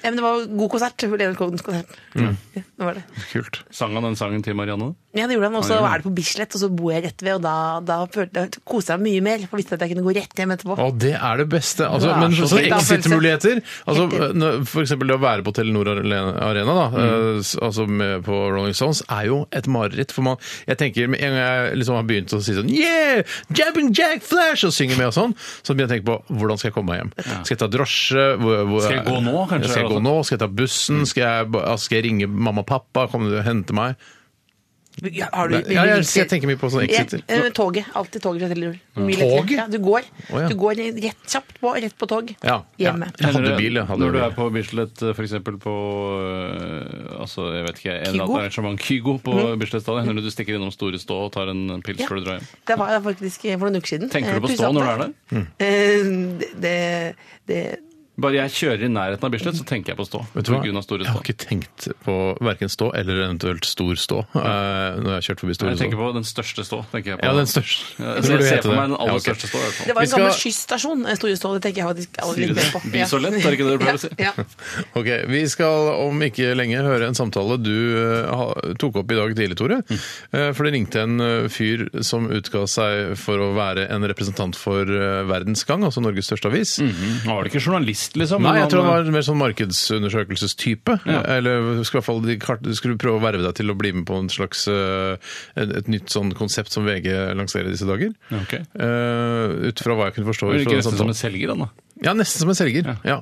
Ja, men det var god konsert. Lene Kogens konsert. Mm. Ja, det var det. Kult. Sang han den sangen til Marianne? Ja, det gjorde han. Og så Ja, ja. er det på Bislett, og så bor jeg rett ved, og da, da, følte, da koste jeg meg mye mer. For jeg visste at jeg kunne gå rett hjem etterpå. Og det er det beste. Altså, Det er men så sånne fint. exit-muligheter altså, Helt enig. når- For eksempel det å være på Telenor Arena da, eh, s- altså med, på Rolling Stones er jo et mareritt. For man, jeg tenker med en gang jeg liksom har begynt å si sånn Yeah! Jabbing Jack Flash! Og synger med og sånn. Så begynner jeg å tenke på hvordan skal jeg komme meg hjem. Skal jeg ta drosje? Hvor, hvor, Skal jeg gå nå, kanskje? Skal jeg gå nå? Skal jeg ta bussen? Skal jeg, ba- altså, skal jeg ringe mamma og pappa? Kommer du og henter meg? Ja, har du, Ja, jeg- jeg tenker mye på sånne exiter. Ja, eh, men toget. Alltid toget fra Telenor. Mye Toget? lettere. Ja, du går. Å, ja. Du går rett kjapt på, rett på tog. Ja, ja. Hjemme. Jeg hadde Eller, bil, jeg. Hadde når du bil. er på Bislett, f.eks. på øh, altså, jeg vet ikke, en eller Kygo? Mm. annen arrangement Kygo på Bislett stadion, hender det du stikker innom Store Stå og tar en pils Ja. før du drar hjem? Det var jeg faktisk for noen uker siden. eh, Tenker du på stå når du er der? Mm. der? Eh, Det, det, Bare jeg kjører i nærheten av Bislett, så tenker jeg på stå. Vet du hva? På grunn av Store Jeg har Stå. ikke tenkt på hverken stå eller eventuelt stor stå eh, når jeg har kjørt forbi store Jeg tenker stå. på den største stå. tenker jeg på. Ja, den største. Ja, Jeg så tror jeg det ser heter for meg det. den Ja, aller ok. største liksom. stå. i hvert det fall. Vi var en gammel skal- kyssstasjon, eh, Store Stå. Det tenker jeg faktisk aller Sier du litt det? mer på. Bisolett, er det ikke det du pleier å si? Ja, ja. Ok, Vi skal om ikke lenge høre en samtale du eh, ha- tok opp i dag tidlig, Tore. Mm. Eh, For det ringte en eh, fyr som utga seg for å være en representant for eh, Verdens Gang, altså Norges største avis. Han Mm, var det ikke journalist, liksom? Nei, men jeg tror han var mer sånn markedsundersøkelsestype. Ja. Eller skulle i hvert fall de kart- skulle prøve å verve deg til å bli med på en slags eh, et, et nytt sånn konsept som VG lanserer i disse dager. Ja, ok. Eh, ut fra hva jeg kunne forstå. Var det ut fra ikke den nesten som samtalen. en selger, han da. Ja, nesten som en selger. Ja.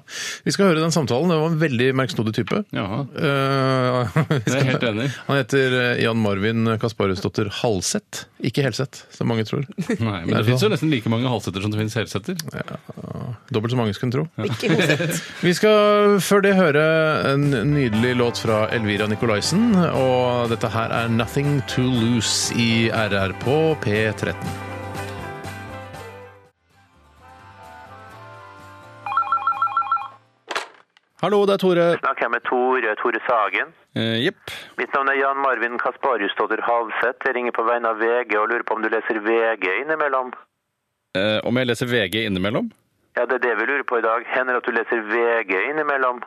Vi skal høre den samtalen. Det var en veldig merksnodig type. Jaha. Eh, vi Det er jeg skal- helt enig i. Han heter eh, Jan Marvin Kasparusdotter Halseth. Ikke Helseth, som mange tror. Nei, men det Derfor. fins jo nesten like mange halsetter som det fins helsetter. Dobbelt så mange skulle en tro. Ikke hoset. Vi skal før det høre en nydelig låt fra Elvira Nicolaisen, og dette her er 'Nothing To Lose' i RR på P13. Hallo, det er Tore. Snakker jeg med Tore, Tore Sagen. Eh, Jepp. Mitt navn er Jan Marvin Kasparusdotter Havseth. Jeg ringer på vegne av VG og lurer på om du leser VG innimellom? Eh, om jeg leser VG innimellom? Ja, det er det vi lurer på i dag. Hender det at du leser VG innimellom?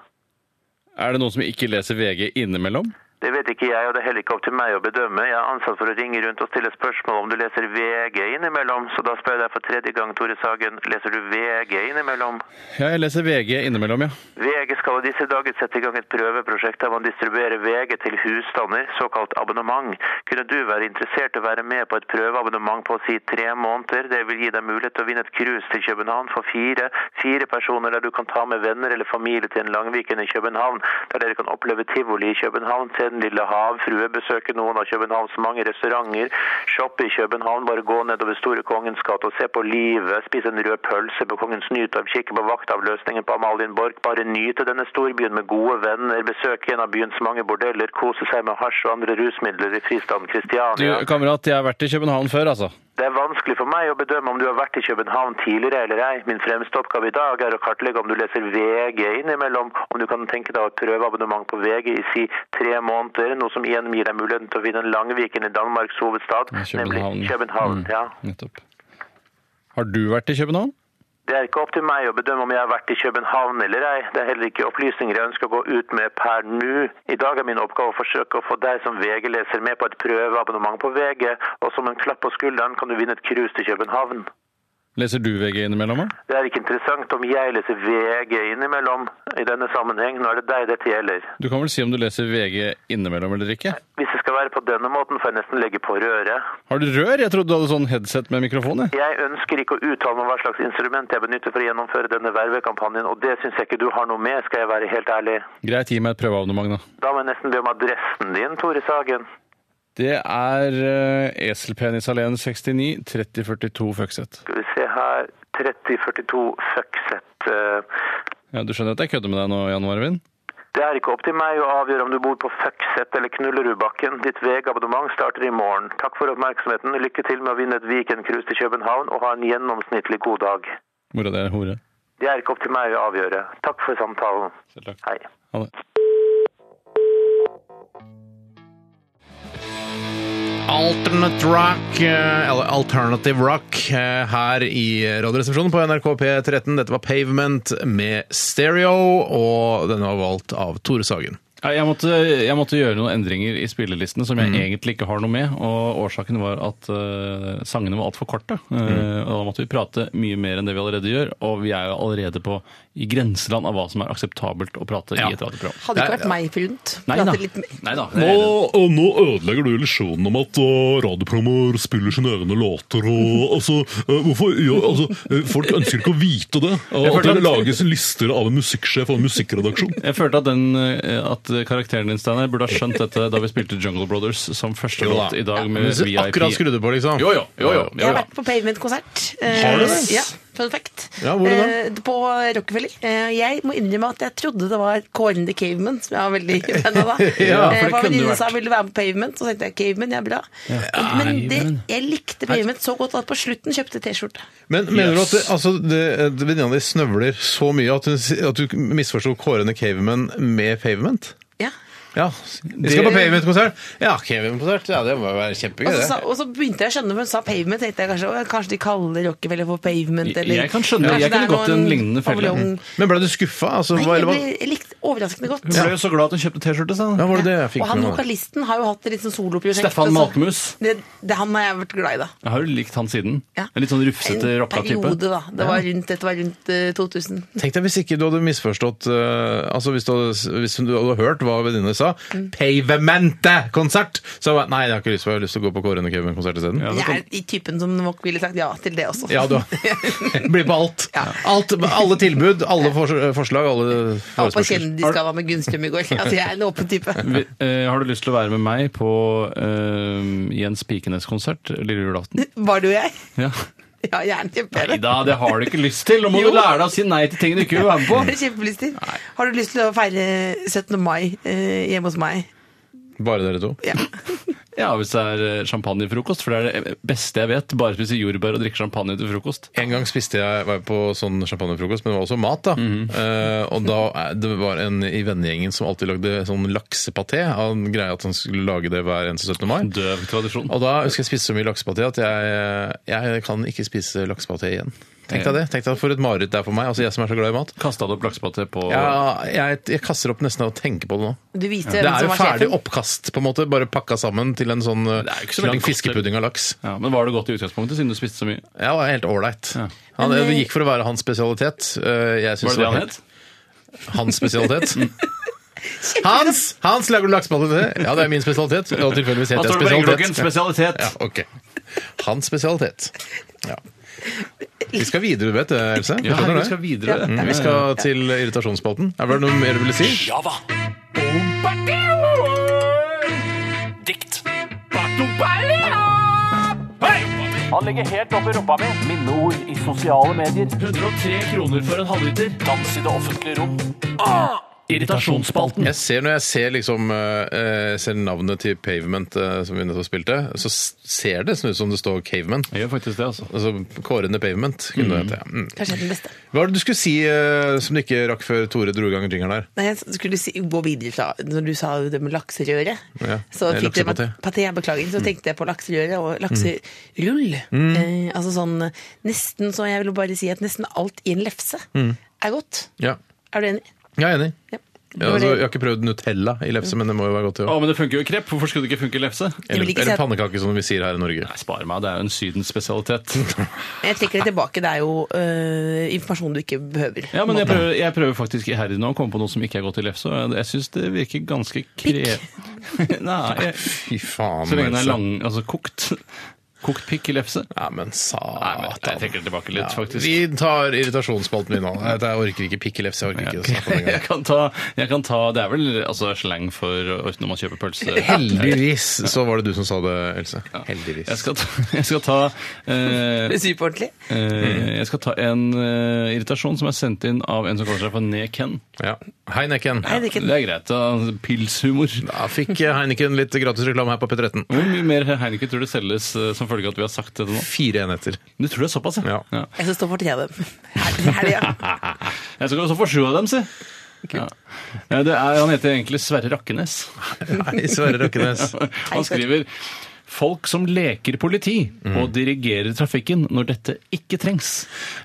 Er det noen som ikke leser VG innimellom? Det vet ikke jeg, og det er heller ikke opp til meg å bedømme. Jeg er ansatt for å ringe rundt og stille spørsmål om du leser VG innimellom, så da spør jeg deg for tredje gang, Tore Sagen, leser du VG innimellom? Ja, jeg leser VG innimellom, ja. VG skal i disse dager sette i gang et prøveprosjekt der man distribuerer VG til husstander, såkalt abonnement. Kunne du være interessert i å være med på et prøveabonnement på si tre måneder? Det vil gi deg mulighet til å vinne et cruise til København for fire, fire personer der du kan ta med venner eller familie til en langviken i København, der dere kan oppleve tivoli i København, se Den lille havfrue, besøke noen av Københavns mange restauranter, shoppe i København, bare gå nedover Store Kongens gate og se på livet, spise en rød pølse på Kongens Nytorv, kikke på vaktavløsningen på Amalienborg, bare nyte denne storbyen med gode venner, besøke en av byens mange bordeller, kose seg med hasj og andre rusmidler i Du, fristaden Kristiania. kamerat, jeg har vært i København før, altså. Det er vanskelig for meg å bedømme om du har vært i København tidligere eller ei. Min fremste oppgave i dag er å kartlegge om du leser VG innimellom, om du kan tenke deg å prøve abonnement på VG i si tre måneder, noe som igjen gir deg muligheten til å finne Langviken i Danmarks hovedstad, nemlig København. Ja. Mm. Nettopp. Har du vært i København? Det er ikke opp til meg å bedømme om jeg har vært i København eller ei. Det er heller ikke opplysninger jeg ønsker å gå ut med per nå. I dag er min oppgave å forsøke å få deg som VG-leser med på et prøveabonnement på VG, og som en klapp på skulderen kan du vinne et cruise til København. Leser du VG innimellom, da? Det er ikke interessant om jeg leser VG innimellom i denne sammenheng. Nå er det deg dette gjelder. Du kan vel si om du leser VG innimellom eller ikke? Hvis det skal være på denne måten, får jeg nesten legge på røret. Har du rør? Jeg trodde du hadde sånn headset med mikrofon, jeg. Jeg ønsker ikke å uttale meg om hva slags instrument jeg benytter for å gjennomføre denne vervekampanjen, og det syns jeg ikke du har noe med, skal jeg være helt ærlig. Greit, gi meg et prøveabonnement, da. Da må jeg nesten be om adressen din, Tore Sagen. Det er uh, Eselpenisalleen 69 3042 Føkset. Skal vi se her 3042 Føkset. eh, Ja, du skjønner at jeg kødder med deg nå, Jan Marvin? Det er ikke opp til meg å avgjøre om du bor på Føkset eller Knullerudbakken. Ditt VG-abonnement starter i morgen. Takk for oppmerksomheten. Lykke til med å vinne et Viken-cruise til København, og ha en gjennomsnittlig god dag. Mora di er hore. Det er ikke opp til meg å avgjøre. Takk for samtalen. Selv takk. Hei. Ha det. Alternate Rock, eh, eller Alternative Rock, eh, her i Radioresepsjonen på NRK P13. Dette var Pavement med Stereo, og den var valgt av Tore Sagen. Ja, Jeg måtte, jeg måtte gjøre noen endringer i spillelistene som jeg egentlig ikke har noe med. Og årsaken var at eh, sangene var altfor korte. Eh, og da måtte vi prate mye mer enn det vi allerede gjør. Og vi er jo allerede på i grenseland av hva som er akseptabelt å prate Ja. i et radioprogram. Hadde ikke vært meg forunt. Nei da. Prater litt mer. Nei da. Nå, og nå ødelegger du illusjonen om at uh, radioprogrammer spiller sine egne låter og altså, eh, hvorfor, ja, altså, eh, Folk ønsker ikke å vite det. eh, Jeg At følte det at- lages lister av en musikksjef og en musikkredaksjon. Jeg følte at, den, eh, at karakteren din Steiner, burde ha skjønt dette da vi spilte Jungle Brothers som første Jo da. låt i dag med Men så VIP. akkurat skrudde på, liksom. Jo, jo, jo, jo, Jeg jo, har jo. vært på Pavement-konsert. Eh, Har du det? Ja, fun fact. Ja, hvor da? Eh, På Rockefeller. Eh, Jeg må innrømme at jeg trodde det var Kåren the Caveman, som jeg var veldig fan av da. Ja, for Eh, det var kunne venninne vært. sa ville du være med på Pavement, så tenkte jeg Caveman, ja bra. Men det, jeg likte Pavement så godt at på slutten kjøpte T-skjorte. Men mener Yes. du at det- altså, det- eh, venninna di snøvler så mye at, hun, si- at du misforsto kårende caveman med pavement? Ja. Ja. Vi skal på pavement-konsert. Ja, caveman-konsert. Ja, det må jo være kjempegøy, Og Altså, så, det. sa, og så begynte jeg å skjønne, for hun sa pavement, tenkte jeg kanskje, «Å, kanskje de kaller Rockefeller for pavement, eller... Jeg kan skjønne, jeg kanskje det kunne er gått i en noen lignende felle. overlong- Men ble du skuffa? Altså, Nei, hva, jeg, eller, ble, hva? jeg likte overraskende godt. Hun ble jo så glad at hun kjøpte T-skjorte. sa Ja, hun. var det det jeg fikk og han med meg? vokalisten har jo hatt et litt sånn soloprosjekt. Stefan så- Malkmus. Det, det han har jeg vært glad i, da. Jeg har jo likt han siden. Ja. En litt sånn rufsete En rocka-type. periode, da. Det var rundt, dette var rundt eh, 2000. Tenk deg hvis ikke du hadde misforstått eh, Altså hvis du hadde, hvis du hadde hørt hva venninnene sa Mm. Pavemente-konsert! Så hadde jeg, nei, jeg har ikke lyst, for jeg har lyst til å gå på Kåre Kevin-konsert isteden. Ja. Ja, det Jeg kan- er i typen som nok ville sagt ja til det også. du blir på alt. alt. Alle tilbud, alle fors forslag, alle Jeg var på forespørsler. Kjendisgalla med Gunnstrøm i går. Altså, jeg er en åpen type. Vi, eh, har du lyst til å være med meg på eh, Jens Pikenes-konsert lille julaften? Var du og jeg? Ja. Ja, jeg er en Nei kjempe. da, det har du ikke lyst til! Nå må Jo. du lære deg å si nei til ting du ikke vil være med Jeg på! er Kjempelyster. Har du lyst til å feire 17. mai eh, hjemme hos meg? Bare dere to. Ja. Ja, Hvis det er eh, champagnefrokost, for det er det beste jeg vet. Bare spise jordbær og drikke champagne til frokost. En gang spiste jeg var jeg på sånn champagnefrokost, men det var også mat. da. Mhm. Eh, og da er- det var en i vennegjengen som alltid lagde sånn laksepaté. Han greia at han skulle lage det hver eneste 17. mai. Døv tradisjon. Og da husker jeg spiste så mye laksepaté at jeg, jeg kan ikke spise laksepaté igjen. Tenk deg det. tenk deg For et mareritt det er for meg. altså Jeg som er så glad i mat. Kasta du opp laksepaté på Ja, jeg, jeg kaster opp nesten av å tenke på det nå. Du viste Det hvem er som jo var ferdig sjefen. oppkast, på en måte, bare pakka sammen til en sånn eh, Det er jo ikke så lang veldig godt, fiskepudding av laks. Ja, Men var det godt i utgangspunktet, siden du spiste så mye? Ja, det var helt ålreit. Ja. Han- Det gikk for å være hans spesialitet. Eh, Jeg synes Var det det han het? helt- Hans spesialitet. Hans! Hans, lager du laksepaté? Ja, det er min spesialitet. Og tilfeldigvis Han heter jeg står det på engeklokken. spesialitet. Spesialitet. Ja, ok. Hans spesialitet. Ja. Vi skal videre, du vet det, Else? Du Ja, skjønner vi det? skal videre. Mm, Vi skal til irritasjonsspalten. Er det noe mer du ville si? Java. Dikt. Han ligger helt oppi rumpa mi. Minneord i sosiale medier. 103 kroner for en halvliter. Dans i det offentlige rom. Irritasjonsspalten. Jeg ser Når jeg ser, liksom, eh, ser navnet til Pavement, eh, som vi nettopp spilte, så s- ser det sånn ut som det står Caveman. Jeg gjør faktisk det, altså. Altså Kårende Pavement, kunne det hete. ja. Mm. Kanskje jeg er den beste. Hva var det du skulle si eh, som du ikke rakk før Tore dro i gang jingeren her? Nei, jeg skulle si, gå videre fra Når du sa det med lakserøre, Ja, det er så Mm. fikk dere laksepaté. paté, jeg beklager, så tenkte jeg på lakserøre og lakserull. Mm. Eh, altså sånn eh, nesten så jeg vil jo bare si at nesten alt i en lefse Mm. er godt. Ja, Er du enig? jeg er enig. Ja. Ja, altså, jeg har ikke prøvd Nutella i lefse, men det må jo være godt. Å, Jo. men det funker jo i krepp. Hvorfor skulle det ikke funke i lefse? Jeg Eller, vil ikke si eller at- pannekake, som vi sier her i Norge. Nei, spar meg. Det er jo en Sydens spesialitet. Jeg trekker det tilbake. Det er jo eh, informasjon du ikke behøver. Ja, men jeg prøver, jeg prøver faktisk iherdig nå å komme på noe som ikke er godt i lefse. og jeg- Jeg syns det virker ganske kre... Nei, jeg, Fy faen. så lenge den er Else. lang, altså kokt. Kokt pikk i lefse. Ja, men satan. Nei, men jeg trekker det tilbake litt, faktisk. Vi tar irritasjonsspalten min nå. Nei, Jeg orker ikke pikkelefse. Jeg orker ikke å snakke om det Jeg engang. kan ta, jeg kan ta Det er vel altså, slang for uh, når man kjøper pølse. Heldigvis så var det du som sa det, Else. Heldigvis. Jeg skal ta, jeg skal ta, eh, Det er superordentlig. eh, jeg skal ta en eh, irritasjon som er sendt inn av en som kaller seg for Neken. Ja. Heineken. Nei, det er Det ikke er greit. da. Pilshumor. Da fikk Heineken litt gratis reklame her på P13. Hvor mye mer Heineken tror du selges eh, som følge av at vi har sagt dette nå? Fire enheter. Du tror det er såpass, Ja. Jeg skal stå for tre av dem. Herlig, herlig, ja. Jeg skal også få sju av dem, si. Ja. Ja, det er, han heter egentlig Sverre Rakkenes. Nei, Sverre Røkkenes. Han skriver folk som leker politi Mm. og dirigerer trafikken når dette ikke trengs.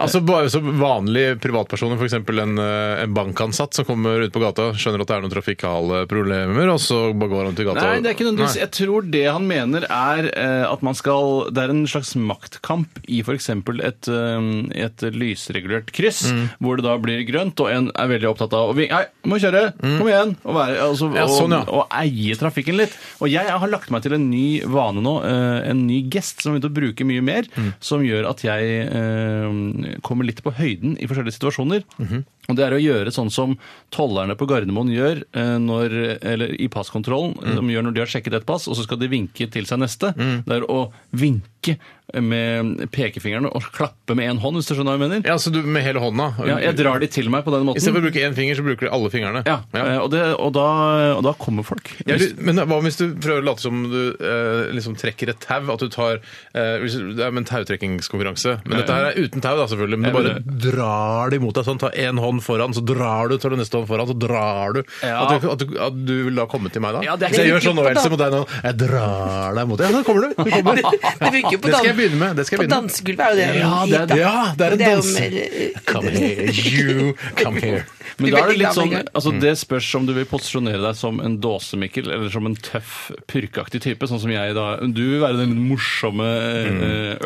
Altså bare som vanlige privatpersoner, f.eks. En, eh, en bankansatt som kommer ut på gata, skjønner at det er noen trafikale problemer, og så bare går han til gata Nei, og- det er ikke nødvendigvis. Nei. Jeg tror det han mener er eh, at man skal Det er en slags maktkamp i f.eks. Et, eh, et lysregulert kryss, Mm. hvor det da blir grønt, og en er veldig opptatt av å vi- Nei, må kjøre! Kom igjen! Og, være, altså, Mm. Ja, sånn, ja. og, og eie trafikken litt. Og jeg har lagt meg til en ny vane nå, eh, en ny gest som jeg begynte å bruke mye mer, Mm. som gjør at jeg eh, kommer litt på høyden i forskjellige situasjoner. Mhm. Og det er å gjøre sånn som tollerne på Gardermoen gjør eh, når, eller i passkontrollen, Mm. de gjør når de har sjekket et pass, og så skal de vinke til seg neste. Det er å vinke med pekefingrene og klappe med én hånd, hvis du skjønner hva jeg mener. Ja, så du med hele hånda? Ja, jeg drar de til meg på den I stedet for måten. å bruke én finger, så bruker du alle fingrene. Ja, eh, Og, det, og, da, og da kommer folk. Ja, du- men hva hvis du prøver å late som du eh, liksom trekker et tau? At du tar eh, hvis du- Det er med en tautrekkingskonkurranse. Men dette her er uten tau, da, selvfølgelig. Men du Jeg bare mener- drar det imot deg sånn. Ta én hånd foran, så drar du. Tar du neste hånd foran, så drar du. Ja. At, du at, du, at du vil da komme til meg da? Ja, det er Hvis jeg helt gjør sånn nå, Else, mot deg nå Jeg drar deg mot deg. Ja, da kommer du. du kommer. Det virker jo på Det skal dan- jeg begynne med. Det skal På jeg begynne med. dansegulvet er jo det Ja, det er- hit, da. Ja, det er en Det er jo dans. mer, eh, Come here, you come here. Men Blir da er det litt veldig glad sånn, med en gang. altså det spørs om du vil posisjonere deg som en dåsemikkel, eller som en tøff, purkeaktig type, sånn som jeg da. Du vil være den morsomme eh,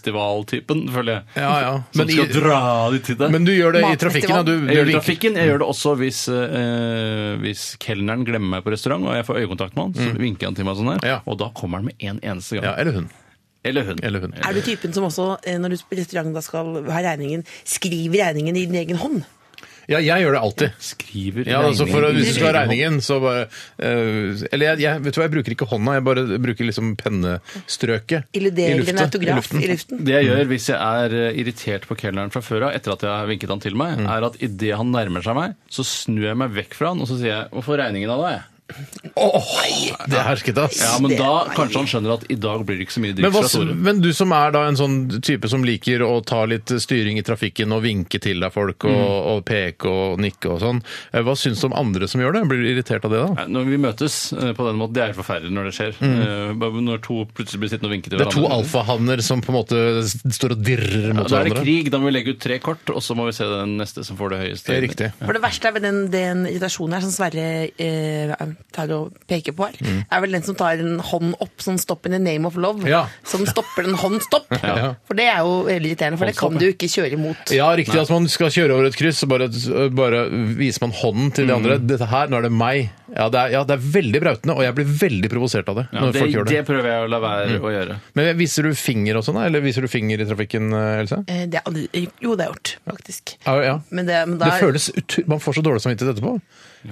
ølfestivaltypen, føler jeg. Ja, ja. Som Men skal i- dra de til deg. Men du gjør Mm. det i Matfestival. trafikken, da? Du, du jeg gjør det i vinker. trafikken, jeg gjør det også hvis, eh, hvis kelneren glemmer meg på restaurant, og jeg får øyekontakt med han, så vinker han til meg sånn her, Mm. Ja. og da kommer han med en eneste gang. Ja, eller hun. Eller hun. Eller hun. Er du typen som også, eh, når du på restaurant da skal ha regningen, skriver regningen i din egen hånd? Ja, jeg gjør det alltid. Skriver Ja, altså for å, Hvis du skal ha regningen, regningen. så bare eh, Eller jeg, jeg, vet du hva, jeg bruker ikke hånda, jeg bare bruker liksom pennestrøket. Eller det, eller en lufta, i autograf luften. i luften? Det jeg gjør hvis jeg er eh, irritert på kelneren fra før av, etter at jeg har vinket han til Mm. meg, er at idet han nærmer seg meg, så snur jeg meg vekk fra han, og så sier jeg 'Hva får regningen av deg?' Det er hersket, ass. Ja, men da kanskje han skjønner at i dag blir det ikke så men, mye driks hva, fra Tore. men du som er da en sånn type som liker å ta litt styring i trafikken og vinke til deg folk og, Mm. og peke og nikke og sånn, eh, hva syns du om andre som gjør det? Blir du irritert av det da? Nei, Når vi møtes eh, på den måten, det er helt forferdelig når det skjer. Eh, bare Når to plutselig blir sittende og vinke Mm. til Det er to hverandre. alfahanner som på en måte s- står og dirrer Ja, mot da er det hverandre. krig, da må vi legge ut tre kort, og så må vi se den neste som får det høyeste. Det er riktig. For det verste er vel den, den irritasjonen her som Sverre eh, tar og peker på her, Mm. er vel den som tar en hånd opp, sånn stopp in the name of love, Ja. som stopper en hånd stopp. Ja. For det er jo veldig irriterende, for det kan du jo ikke kjøre imot. Ja, riktig. At man skal kjøre over et kryss, så bare, bare viser man hånden til de andre. 'Dette her, nå er det meg.' Ja, det er, ja, det er veldig brautende, og jeg blir veldig provosert av det. Ja, når det, folk gjør det det. Mm. prøver jeg å la være å gjøre. Men Viser du finger og sånn, da? eller viser du finger i trafikken, Else? Eh, Det er aldri, jo, det er gjort, faktisk. Ja, ja. Men det, men da, Det føles ut- Man får så dårlig samvittighet etterpå.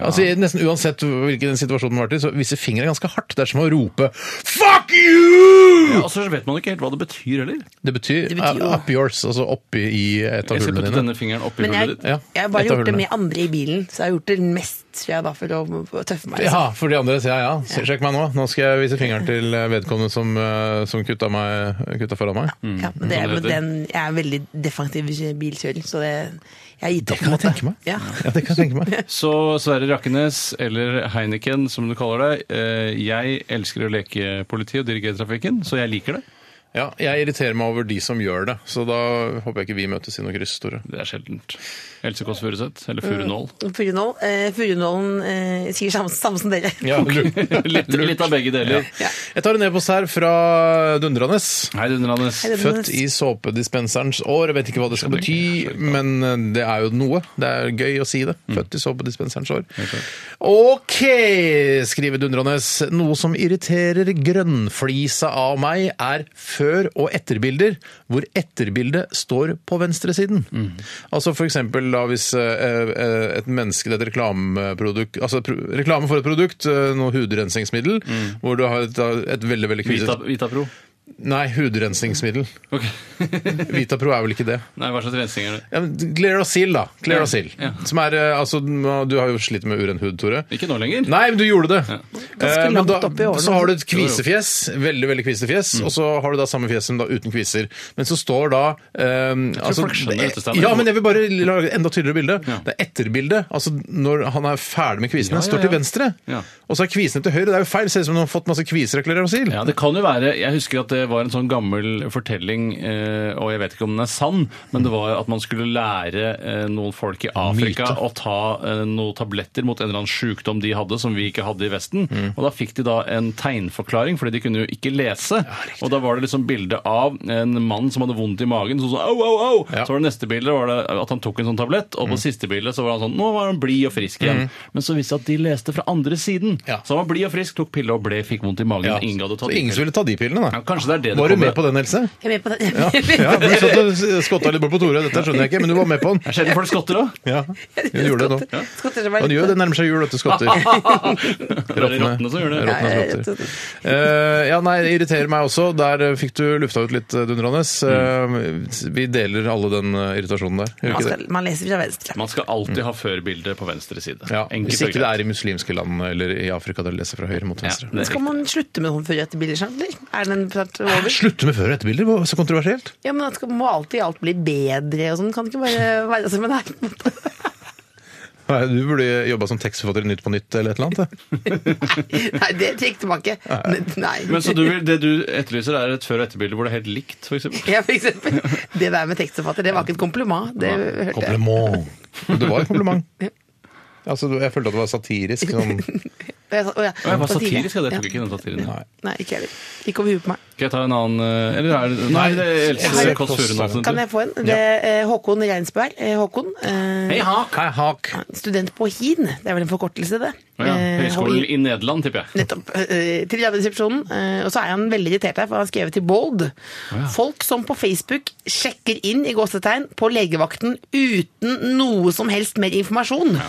Altså, Nesten uansett hvilken situasjon man har vært i, så viser fingeren ganske hardt. Det er som å rope 'fuck you'! Ja, og så vet man ikke helt hva det betyr heller. Det betyr, Det betyr jo- up yours, altså oppi i et av Jeg hullene skal putte dine. denne fingeren oppi Men jeg, hullet ditt. Ja, jeg har bare et av gjort det hullene. med andre i bilen, så jeg har gjort det mest, tror jeg, da, for å, for å tøffe meg. altså. Ja, for de andre sier jeg, altså. ja. Se- Sjekk meg nå. Nå skal jeg vise fingeren til vedkommende som, eh, som kutta, meg, kutta foran meg. Ja, men det, Som det men heter. den, jeg er en veldig defensiv bilkjører, så det, jeg har gitt Det kan opp. på en jeg måte. tenke meg. Ja. Ja, det kan jeg tenke meg. Så Sverre Rakkenes, eller Heineken som du kaller det, eh, jeg elsker å leke politi og dirigere trafikken, så jeg liker det. Ja, jeg irriterer meg over de som gjør det, så da håper jeg ikke vi møtes i noe kryss, Tore. Det er sjeldent. Else Kåss Furuseth, eller Furunål. Furunål, eh, Furunålen eh, sier samme, samme som dere. Litt, litt av begge deler. Ja. Jeg tar en e-post her fra Dundranes. Hei, Dunderlandes. Hei, Dunderlandes. Født i såpedispenserens år. Jeg vet ikke Mm. hva det skal bety, men eh, det er jo noe. Det er gøy å si det. Født i såpedispenserens år. OK, skriver Dundranes. Noe som irriterer grønnflisa av meg, er før- og etterbilder, hvor etterbildet står på venstresiden. Altså for eksempel da hvis eh, eh, et menneske det er et reklameprodukt Altså pro- reklame Mm. for et produkt, eh, noe hudrensingsmiddel, hvor du har et, da- et veldig, veldig kviset Vita, Vitapro. Nei, hudrensingsmiddel. Ok. Vitapro er vel ikke det. Nei, hva slags rensing er det? Ja, men Clearasil, da. Clearasil. Ja. Som er eh, Altså, du har jo slitt med uren hud, Tore. Ikke nå lenger. Nei, men du gjorde det. Eh, men langt da, opp i årene. så har du et kvisefjes, veldig veldig kvisefjes, Mm. og så har du da samme fjes som da uten kviser. Men så står da eh, altså, folk skjønner dette, Steiner. Ja, men jeg vil bare lage et enda tydeligere bilde. Ja. Det er etterbildet. Altså når han er ferdig med kvisene, Ja, ja, står til ja. venstre. Ja. Og så er kvisene til høyre. Det er jo feil. Ser ut som om han har fått masse kviser av klerasil. Ja, det kan jo være, Jeg husker at det var en sånn gammel fortelling, eh, og jeg vet ikke om den er sann, men det var at man skulle lære eh, noen folk i Afrika Myte. å ta eh, noen tabletter mot en eller annen sjukdom de hadde som vi ikke hadde i Vesten. Mm. Og da fikk de da en tegnforklaring, fordi de kunne jo ikke lese. og da var det liksom bilde av en mann som hadde vondt i magen, sånn sånn au, au, au! Ja. Mm. Så var det neste bilde var det at han tok en sånn tablett, og på siste bilde så var han sånn nå var han blid og frisk igjen. Men så viste det at de leste fra andre siden. Ja. Så han var blid og frisk, tok pille og ble, fikk vondt i magen. Ja. Ingen hadde Så tatt ingen de som ville ta de pillene, ja, da. kanskje det er det det Var du kommer- med på den, Else? Jeg er med på det. Ja, ja for du satt og skotta litt bort på Tore. Dette skjønner jeg ikke, men du var med på Det den. er sjelden folk skotter òg. Ja, sånn. hun gjorde det nå. Skotter, Han gjør det nærmer seg jul, vet du, skotter. Det er rottene som gjør det. Rottene Ja, som jeg- rotter. Eh, ja, nei, det irriterer meg også. Der eh, fikk du lufta ut litt, eh, Dundranes. Eh, vi deler alle den eh, irritasjonen der. Gjør Man, vi ikke det? skal, man leser fra venstre. Man skal alltid ha førbildet på venstre side. Ja, Enkelt hvis og ikke det greit. er i muslimske land eller i Afrika der du leser fra høyre mot venstre. Ja, det er Skal man slutte med noen før etter bildesjangler? Er den snart over? Slutte med før- og etterbilder? Hva- Så kontroversielt? Ja, men det skal, må alltid alt bli bedre og sånn? Kan det ikke bare være som en egen måte? Nei, du burde jobba som tekstforfatter i Nytt på Nytt eller et eller annet. da. Nei, det trekker tilbake. Nei. Men så du, vil- det du etterlyser, er et før- og etterbilde hvor det er helt likt, f.eks.? Ja, for eksempel. Det der med tekstforfatter, det var ikke et kompliment. Det hørte jeg. Kompliment. Det var et kompliment. Altså, du- jeg følte at det var satirisk. Sånn. Jeg sa- å ja, Å, Jeg var satire. satirisk, ja. Det tok ikke den satiren. Nei. Nei, ikke heller. Ikke over huet på meg. Skal jeg ta en annen eh, Eller er det Nei, det er Else Nei. Kåss Furunåsen. Kan jeg få en? Det er eh, Håkon Reinsberg. Eh, Håkon. eh, Hei, Hak! Hei, Hak. Student på HIN. Det er vel en forkortelse, det. Å Ja, Eh, Høgskolen i Nederland, tipper jeg. Nettopp. eh, Til Radioresepsjonen. eh, Og så er han veldig irritert her, for han har skrevet til Bold. Folk som på Facebook sjekker inn i gåsetegn på legevakten uten noe som helst mer informasjon.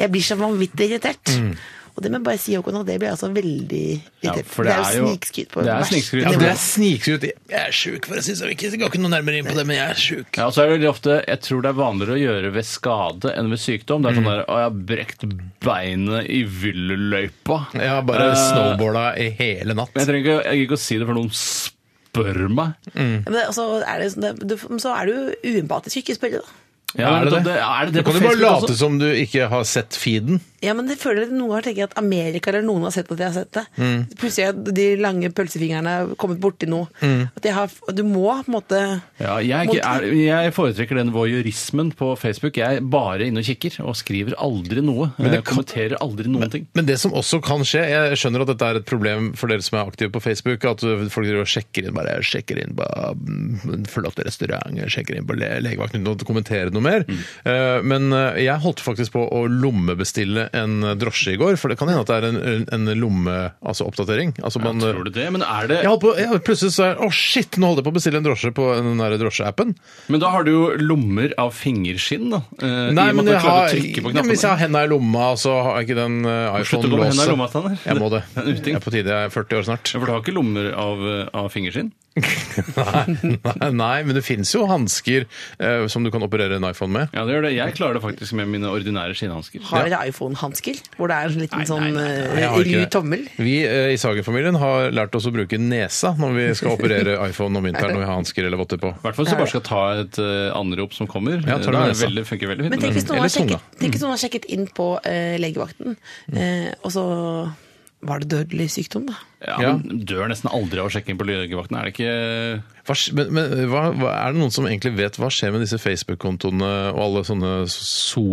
Jeg blir så vanvittig irritert. Mm. Og det må jeg bare si, Håkon, at det blir jeg altså veldig irritert. for det er jo- snikskryt på det er verste snikskryt. Ja, nivå. det er snikskryt. Jeg er sjuk, for jeg synes jeg ikke sånn. jeg går ikke noe nærmere inn på det, men jeg er sjuk. Ja, og så er det veldig ofte, Jeg tror det er vanligere å gjøre ved skade enn ved sykdom. Det er Mm. sånn der Å, jeg har brekt beinet i villeløypa. Jeg har bare Eh, snowboarda i hele natt. Men Jeg trenger ikke, jeg gidder ikke å si det, for noen spør meg. Ja, men det- og så er det, sånn- det- du- så er du jo uempatisk ikke spørre, da. Ja, er det men det? Er det det Da kan du på bare Facebook late også? som du ikke har sett feeden. Ja, men det føler jeg noen ganger tenker jeg at Amerika eller noen har sett at jeg har sett det. Mm. Plutselig har de lange pølsefingrene kommet borti noe. Mm. At jeg har, du må på en måte Ja, jeg, er ikke- er, jeg foretrekker den voyeurismen på Facebook. Jeg er bare inne og kikker, og skriver aldri noe. det jeg kan- kommenterer aldri noen ting. Men det som også kan skje, jeg skjønner at dette er et problem for dere som er aktive på Facebook, at folk driver og sjekker inn bare, jeg sjekker inn på mm, en flott restaurant, jeg sjekker inn på le legevakten uten å kommentere noe mer. Mm. Eh, men eh, jeg holdt faktisk på å lommebestille en drosje i går, for det kan hende at det er en, en, en lomme, altså oppdatering. Altså man, Tror du det? Men, er det, Jeg holdt på, jeg, plutselig så er Å, shit, nå holdt jeg på å bestille en drosje på den der drosjeappen. men da har du jo lommer av fingerskinn, da. Eh, Nei, i og med men at du jeg klarer å har, trykke ja, på men hvis jeg har henda knappene. i lomma, så har jeg ikke den eh, Slutt å gå med henda i lomma, iPhone-låset. Steiner. Jeg må det. Det er en uting. Jeg er på tide. Jeg er 40 år snart. Ja, For du har ikke lommer av, eh, av fingerskinn? nei, nei, nei, men det fins jo hansker eh, som du kan operere en iPhone med. Ja, det gjør det. Jeg klarer det faktisk med mine ordinære skinnhansker. Har dere iPhone-hansker? Hvor det er en liten Nei, nei, sånn nei, eh, Nei, jeg har ikke ru det. tommel? Vi eh, i Sagen-familien har lært oss å bruke nesa når vi skal operere iPhone om vinteren når vi har hansker eller votter på. I hvert fall hvis du bare skal ta et eh, anrop som kommer. Ja, tar det da er med det seg. veldig, funker veldig fint. Men tenk hvis noen Mm. Eller har tunga. Mm. sjekket, tenk hvis noen har sjekket inn på eh, legevakten, eh, og så var det dødelig sykdom, da. ja, Ja. men dør nesten aldri av å sjekke inn på legevakten. Er det ikke Hva, sk- men men hva, hva, er det noen som egentlig vet hva skjer med disse Facebook-kontoene og alle sånne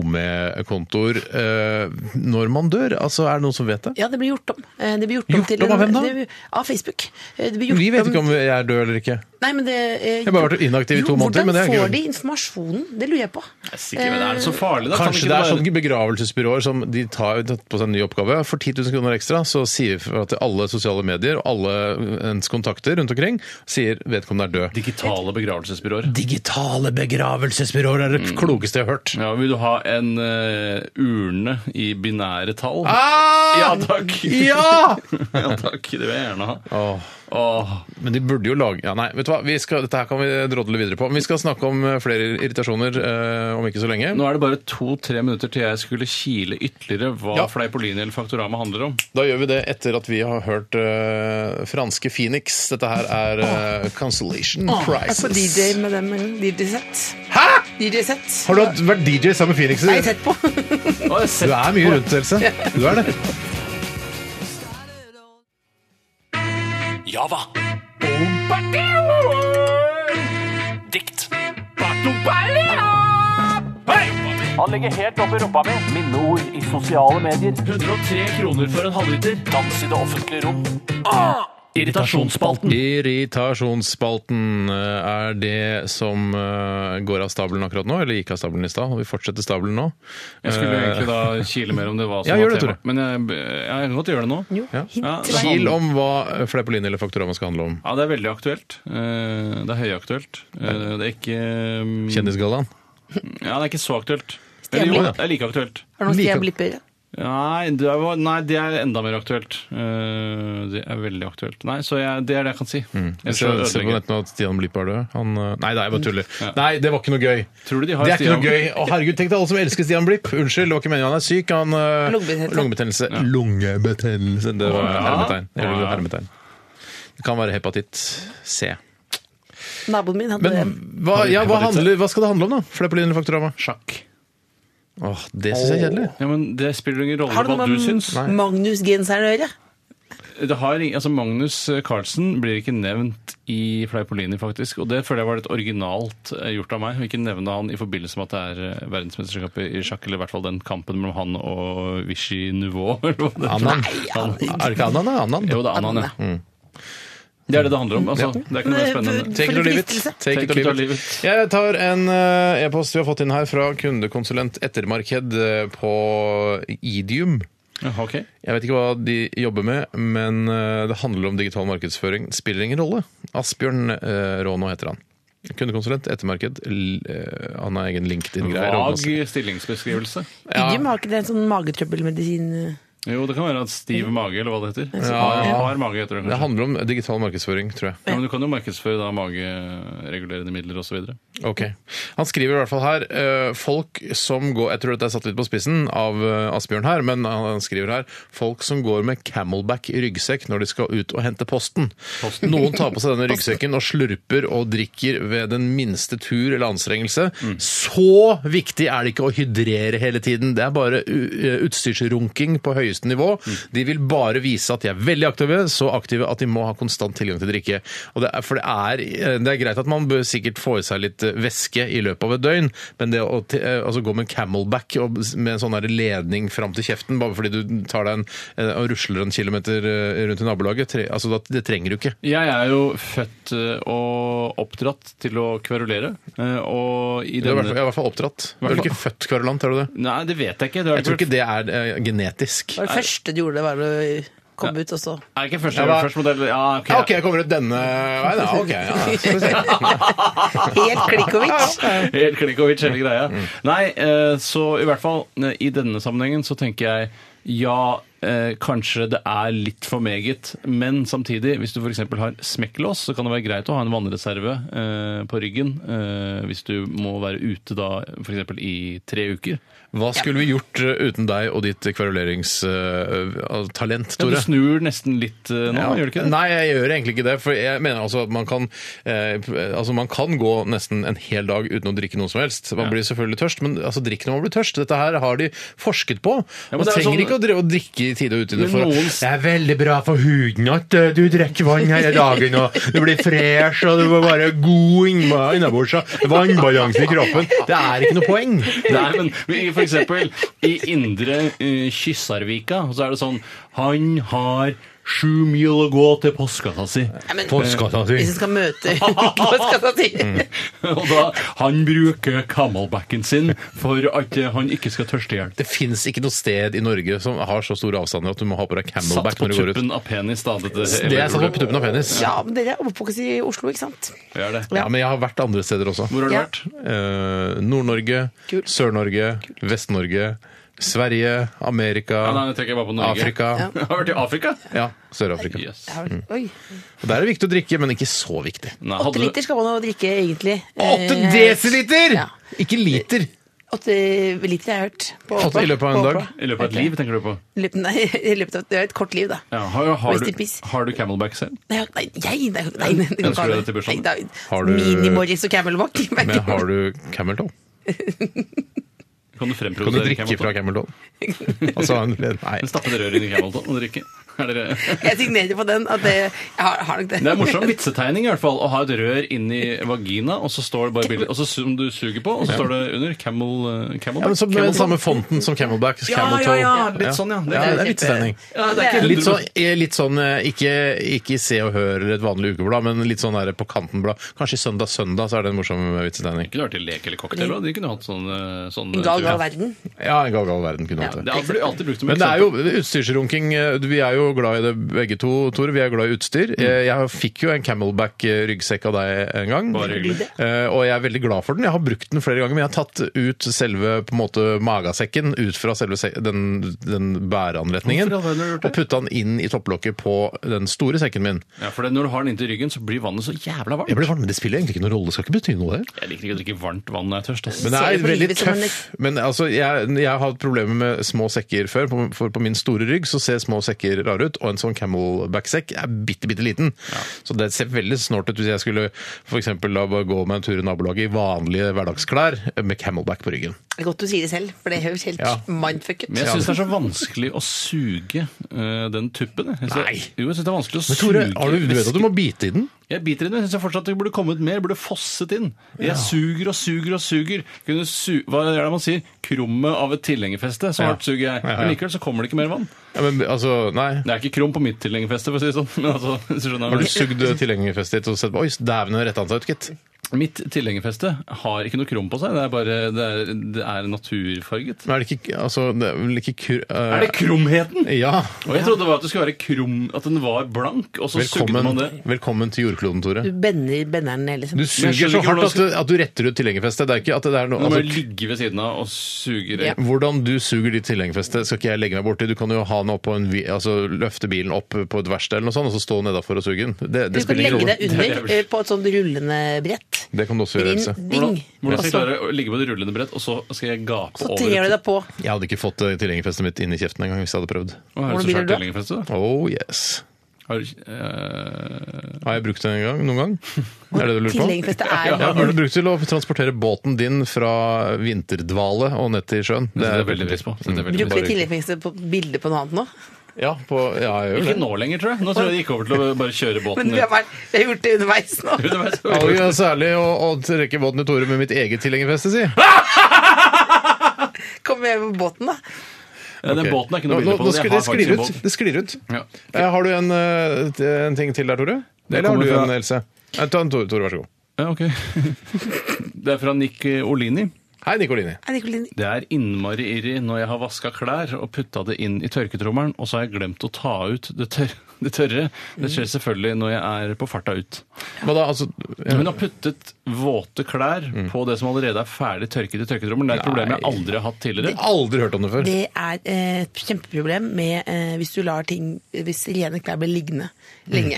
SoMe-kontoer eh, når man dør? Altså, Er det noen som vet det? Ja, det blir gjort om. Eh, Det blir gjort om Gjort til om av en- hvem da? det blir- Av Facebook. Eh, Det blir gjort Vi vet om- ikke om jeg er død eller ikke. Nei, men det, eh, har bare vært inaktiv i jo, to måneder, men det er greit. Hvordan får de informasjonen? Det lurer jeg på. Jeg er sikker, men er det så farlig, da? Kan Kanskje ikke det er bare- sånne begravelsesbyråer som de tar tar på seg en ny oppgave. For 10 000 kroner ekstra så sier vi fra til alle sosiale medier og alle ens kontakter rundt omkring sier vedkommende er død. Digitale begravelsesbyråer. sånn Digitale begravelsesbyråer er det Mm. klokeste jeg har hørt. Ja, Vil du ha en eh, urne i binære tall? Ah! Ja takk! Ja! ja takk, Det vil jeg gjerne ha. Åh. Åh. Men de burde jo lage ja, Nei, vet du hva? Vi skal, dette her kan vi drodle videre på. Men vi skal snakke om eh, flere irritasjoner eh, om ikke så lenge. Nå er det bare to-tre minutter til jeg skulle kile ytterligere hva Ja. Fleipolini eller Faktorama handler om. Da gjør vi det etter at vi har hørt eh, franske Phoenix. Dette her er eh, Consolation Jeg er på Crisis. DJ med dem. DJ-sett. Hæ?! DJ-sett. Har du hatt- vært DJ sammen med Phoenix? Nei, sett på. Du er mye rundt, Else. Du er det. Java. Dikt. Han legger helt opp i rumpa mi. Minneord i sosiale medier. 103 kroner for en halvliter. Dans i det offentlige rom. Irritasjonsspalten. Irritasjonsspalten eh, er det som eh, går av stabelen akkurat nå, eller gikk av stabelen i stad. og Vi fortsetter stabelen nå. Jeg skulle Eh, egentlig da kile mer om det hva som Ja, var gjør det, tema. Tore. Men jeg, jeg kan godt gjøre det nå. ja. Ja, det Kil handler- om hva Fleipolini eller Faktorama skal handle om. Mm. Ja, det er veldig aktuelt. Eh, Det er høyaktuelt. Eh, Det er ikke eh, Kjendisgallaen. Ja, det er ikke så aktuelt. Stjerne. Eller jo, det er like aktuelt. Har du noen Like- stjerneblipper? Nei det, er, jo- nei, det er enda mer aktuelt. Eh, Det er veldig aktuelt. Nei, så jeg, det er det jeg kan si. Mm. Jeg Ellers så ser, ser på ødelegger jeg. nettet nå at Stian Blipp er død. Han, eh, nei, nei, jeg bare tuller. Nei, det var ikke noe gøy. Tror du de har Det er ikke Stian- noe gøy. Å, herregud, tenk deg alle som elsker Stian Blipp. Unnskyld, det var ikke meningen. Han er syk. Han eh, Lungebetennelse. Lungebetennelse. Lungebetennelse. Det var Å, ja. hermetegn. Eller Å, ja. hermetegn. Det kan være hepatitt C. Naboen min eh, hadde Men hva, ja, hva, handler, hva skal det handle om, da? Fleipolini eller Faktorama? Sjakk. Åh, det syns jeg er kjedelig. Ja, men Det spiller ingen rolle Har det hva noe du med syns. Nei. Magnus-genseren å gjøre? Det har, ing- altså Magnus Carlsen blir ikke nevnt i Fleipolini, faktisk. Og det føler jeg var litt originalt eh, gjort av meg. å Ikke nevne han i forbindelse med at det er eh, verdensmesterskapet i sjakk, eller i hvert fall den kampen mellom han og Vichy Nouveau. eller hva det heter. Anan. Han- Er det ikke Anan? da? Anan. Jo, det er Anan, ja. Mm. Det er det det handler om. altså. Det er ikke noe mer spennende. Take it or leave it. Take it or leave it. Jeg tar en eh, e-post vi har fått inn her fra kundekonsulent Ettermarked eh, på Idium. Ja, ok. Jeg vet ikke hva de jobber med, men eh, det handler om digital markedsføring. Spiller ingen rolle. Asbjørn eh, Rånå heter han. Kundekonsulent, ettermarked. l- eh, Han har egen LinkedIn-greier. Vag stillingsbeskrivelse. Ja. Idiom har ikke det en sånn magetrøbbelmedisin? eh. Jo, det kan være at stiv mage, eller hva det heter. Ja, ja. Har mage, heter det Det kanskje. handler om digital markedsføring, tror jeg. Ja, men du kan jo markedsføre da mageregulerende midler osv. Ok. Han skriver i hvert fall her eh, folk som går Jeg tror dette er satt litt på spissen av eh, Asbjørn her, men han skriver her folk som går med camelback i ryggsekk når de skal ut og hente posten. Noen tar på seg denne ryggsekken og slurper og drikker ved den minste tur eller anstrengelse. Så viktig er det ikke å hydrere hele tiden. Det er bare u- eh, utstyrsrunking på høyeste nivå. De vil bare vise at de er veldig aktive, så aktive at de må ha konstant tilgang til drikke. Og det er, for det er, eh, det er greit at man bør sikkert få i seg litt eh, væske i løpet av et døgn, men det å ti- eh, altså gå med camelback og s- med en sånn der ledning fram til kjeften bare fordi du tar deg en, eh, og rusler en kilometer eh, rundt i nabolaget, tre, altså, da- det trenger du ikke. Jeg er jo født eh, og oppdratt til å kverulere. eh, Og i Du er i hvert fall- jeg denne er i hvert fall oppdratt. Du er vel ikke født kverulant, er du det? Nei, det vet jeg ikke. Det har Jeg tror vært- ikke det er eh, genetisk. Det var det første du gjorde, var å komme ut og så Er ikke første, Ja, da- første modell Ja, ok. Ja, Ah, ok, jeg kommer ut denne veien. Ja, ok. Ja, skal vi se. Helt klikkovic! Helt Klinkovic, hele greia. Mm. Nei, eh, så i hvert fall eh, i denne sammenhengen så tenker jeg ja, eh, kanskje det er litt for meget, men samtidig, hvis du f.eks. har smekklås, så kan det være greit å ha en vannreserve eh, på ryggen eh, hvis du må være ute da f.eks. i tre uker. Hva skulle vi gjort eh, uten deg og ditt kveruleringstalent, Ja, du Tore? snur nesten litt eh, nå, Ja. gjør du ikke det? Nei, jeg gjør egentlig ikke det. For jeg mener altså at man kan, eh, altså man kan gå nesten en hel dag uten å drikke noe som helst. Man blir selvfølgelig tørst, men altså, drikk når man blir tørst. Dette her har de forsket på. Ja, men man det er trenger sånn- ikke å drive og drikke i tide og utide Men for noen- Det er veldig bra for huden at eh, du drikker vann hele dagen, og du blir fresh, og du må være god innma- innabords. og Vannbalansen i kroppen. Det er ikke noe poeng. Nei, men i- for eksempel i indre eh, Kyssarvika, så er det sånn Han har sju mil å gå til postkassa si. men- Postkassa si. Hvis du skal møte postkassa si. Mm. Og da Han bruker camelbacken sin for at eh, han ikke skal tørste i hjel. Det fins ikke noe sted i Norge som har så store avstander at du må ha på deg Satt camelback på når du går ut. tuppen av penis, da. Dette, Det er satt på tuppen av penis. Ja, men dere er oppvokst i Oslo, ikke sant? Vi er det. Ja, men jeg har vært andre steder også. Hvor har du Ja. vært? Eh, Nord-Norge, Kult. Sør-Norge, Vest-Norge, Sverige, Amerika, Ja, nei, jeg trekker bare på Norge. Afrika. Ja. Har du vært i Afrika? Ja, Sør-Afrika. Yes. Jeg Mm. har- Oi. Og Der er det viktig å drikke, men ikke så viktig. Nei, hadde Åtte du- liter skal man jo drikke, egentlig. Åtte Eh, desiliter! Ja. Ikke liter. Åtte liter jeg har hørt. På, Åtte i løpet av en på- dag? på- I løpet av et liv, tenker du på? I løpet- Nei, i løpet av, det er et kort liv, da. Ja, har, har, Rest du, in peace. har du camelback selv? Nei, nei, jeg, nei, nei, nei, Ønsker du deg til bursdagen? Nei, da- Har du- Mini-Morris og Camel Walk. Men har du Camel Toe? Kan du Kan du fremprovosere drikke fra Camel Toe? Altså, nei. Stappe det røret inn i camelton og drikke? Er dere- Jeg signerer på den. At det, jeg har, har nok det. Det er en morsom vitsetegning i hvert fall, å ha et rør inni vagina, og så står det bare bildet, og så som du suger på, og så står det under camel, eh, Ja, men camelback. så Med den samme fonten som Camelback. Camel Toe. litt sånn, ja. Det Ja, er- det er litt stemning. Ja, det er ikke Litt sånn, eh, litt sånn eh, ikke, ikke i Se og Hør eller et vanlig ukeblad, men litt sånn der på kanten-blad. Kanskje i Søndag Søndag så er det en morsom vitsetegning. Det kunne vært i lek eller cocktail, da. De kunne hatt sånn, eh, sånn En gal, tur. gal verden. Ja, en gal gal verden kunne hatt Det det. har blitt- alltid brukt som Men det er eksempel. jo utstyrsrunking. eh, Vi er jo glad i det begge to, Tore. Vi er glad i utstyr. Eh, Jeg fikk jo en Camelback-ryggsekk av deg en gang. Bare hyggelig. Eh, Og jeg er veldig glad for den. Jeg har brukt den flere ganger, men jeg har tatt ut selve på en måte magasekken ut fra selve se- den, den bæreanretningen. Hvorfor i all verden har du gjort Og det? putta den inn i topplokket på den store sekken min. Ja, for det, når du har den inntil ryggen, så blir vannet så jævla varmt. Jeg blir varm, men det spiller egentlig ikke noen rolle. Det skal ikke bety noe, det. Jeg liker ikke å drikke varmt vann når jeg er tørst. ass. Men det Ser er det på veldig livet som en- tøff. Men altså, jeg, jeg har hatt problemer med små sekker før. på- For på min store rygg så ser små sekker rare ut, og en sånn camelback-sekk er bitte, bitte liten. Så det ser veldig snålt ut hvis jeg skulle for eksempel, da bare gå meg en tur i nabolaget i vanlige hverdagsklær med camelback på ryggen. Det er godt du sier det selv, for det høres helt Ja. mindfuck ut. Men jeg syns det er så vanskelig å suge eh, den tuppen. Jeg. Jeg synes- Nei. Jo, jeg syns det er vanskelig å Men Tore, suge har du, du vet at du må bite i den? Jeg biter i den. Jeg syns fortsatt det burde kommet mer. Burde fosset inn. Jeg suger og suger og suger. Kunne su Hva er det man sier? Krummet av et tilhengerfeste. Så Ja. hardt suger jeg. Ja, ja. Men likevel så kommer det ikke mer vann. Ja, men altså, nei. Det er ikke krum på mitt tilhengerfeste, for å si det sånn. Men altså, hvis du skjønner Har hva du jeg mener. sugd tilhengerfestet ditt og sett Oi, dæven, nå retta han seg ut, gitt. Mitt tilhengerfeste har ikke noe krum på seg. Det er bare det er, det er naturfarget. Men er det ikke Altså, det er vel ikke kur... eh, Er det krumheten? Ja. Og jeg trodde det var at det skulle være krum, at den var blank, og så sugde man Velkommen, det. velkommen til jordkloden, Tore. Du bender benderen ned, liksom. Du Men suger jeg skjønner så ikke hardt hvordan at du, at du retter ut tilhengerfestet. Det er ikke at det er noe Nå må jeg altså, ligge ved siden av og suge det. Ja. Hvordan du suger ditt tilhengerfeste, skal ikke jeg legge meg borti. Du kan jo ha den opp på en, vi- altså, løfte bilen opp på et verksted eller noe sånt, og så stå nedafor og suge den. Det, Du det kan spiller ingen legge rolle. deg under eh, på et sånt rullende brett. Det kan du også gjøre, Inn, Else. ding. Hvordan, hvordan skal jeg Og så- klare å ligge på det rullende brett, og så skal jeg gape Så over trer du et- deg på. Jeg hadde ikke fått eh, tilhengerfestet mitt inn i kjeften engang hvis jeg hadde prøvd. Å, er det Hvordan så blir svært det da? tilhengerfeste, da? Oh yes. Har du ikke- eh, Har jeg brukt det en gang, noen gang? Er det det du lurer på? Tilhengerfestet er Ja, har du brukt til å transportere båten din fra vinterdvale og ned til sjøen? Det setter jeg veldig pris på. Det setter jeg veldig Bruk det pris på. tilhengerfestet på bilde på noe annet nå. Ja, på, ja, jeg gjør det. Ikke nå lenger, tror jeg. Nå tror jeg det gikk over til å bare kjøre båten Men vi har, ned. vært, vi har gjort det underveis nå. Ja, og ja, særlig å, å trekke båten i Tore med mitt eget tilhengerfeste, si. Kommer jeg med båten, da? Ja, Den Ok. båten er ikke noe Nå- bilde nå- på. nå Jeg skli- har Det sklir faktisk en ut. Det sklir ut. båt. Ja. Eh, Har du en, eh, en ting til der, Tore? Eller har kommer du fra- en, Else? Eh, Ta en, Tore, Tore, vær så god. Ja, ok. Det er fra Nick Olini. Hei, Nicolini. Er det ikke litt- Det er innmari irri når jeg har vaska klær og putta det inn i tørketrommelen, og så har jeg glemt å ta ut det, tør det tørre. Det skjer selvfølgelig når jeg er på farta ut. Hva da, altså Hun har puttet våte klær Mm. på det som allerede er ferdig tørket i tørketrommelen. Det er et problem jeg aldri har hatt jeg tidligere. har Aldri hørt om det før. Det er eh, et kjempeproblem med eh, hvis du lar ting Hvis rene klær blir liggende lenge.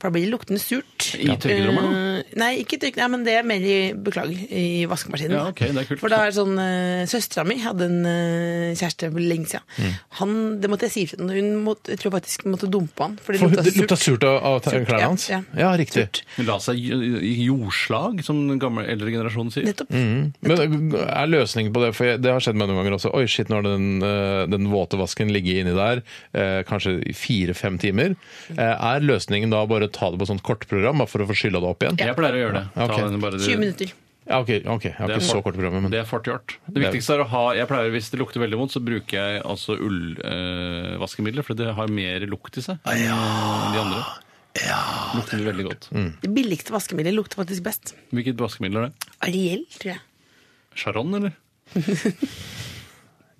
For da blir det luktende surt. Mm. I tørkerommet, Eh, Nei, ikke i tørkerommet, nei, men det er mer i Beklager, i vaskemaskinen. Ja, ok, det er kult. For da er det sånn eh, Søstera mi hadde en eh, kjæreste for lenge siden. Mm. Han, det måtte jeg si ifra til. Hun måtte, jeg tror faktisk måtte dumpe han, for det For lukta det lukta surt. surt av, av Surt, klærne ja, hans? ja. Ja, riktig. Hun la seg i i jordslag, som den gamle eldre generasjonen sier. Nettopp. Men er løsningen på det, for jeg- det har skjedd meg noen ganger også. Oi, shit, nå har den, eh, den våte vasken ligget inni der eh, kanskje i fire-fem timer. Eh, Er løsningen da bare å ta det på sånt kortprogram bare for å få skylla det opp igjen? Jeg pleier å gjøre det. Ta Ok. den bare- 20 minutter. Ja, ok, ok. Jeg har Det er ikke så fort- kort program, men Det er fort gjort. Det viktigste er å ha jeg pleier, Hvis det lukter veldig vondt, så bruker jeg altså ullvaskemidler, eh, vaskemidler, for det har mer lukt i seg Ah, enn de andre. lukter veldig godt. Mm. Det billigste vaskemiddelet lukter faktisk best. Hvilket vaskemiddel er det? Ariel, tror jeg. Charon, eller?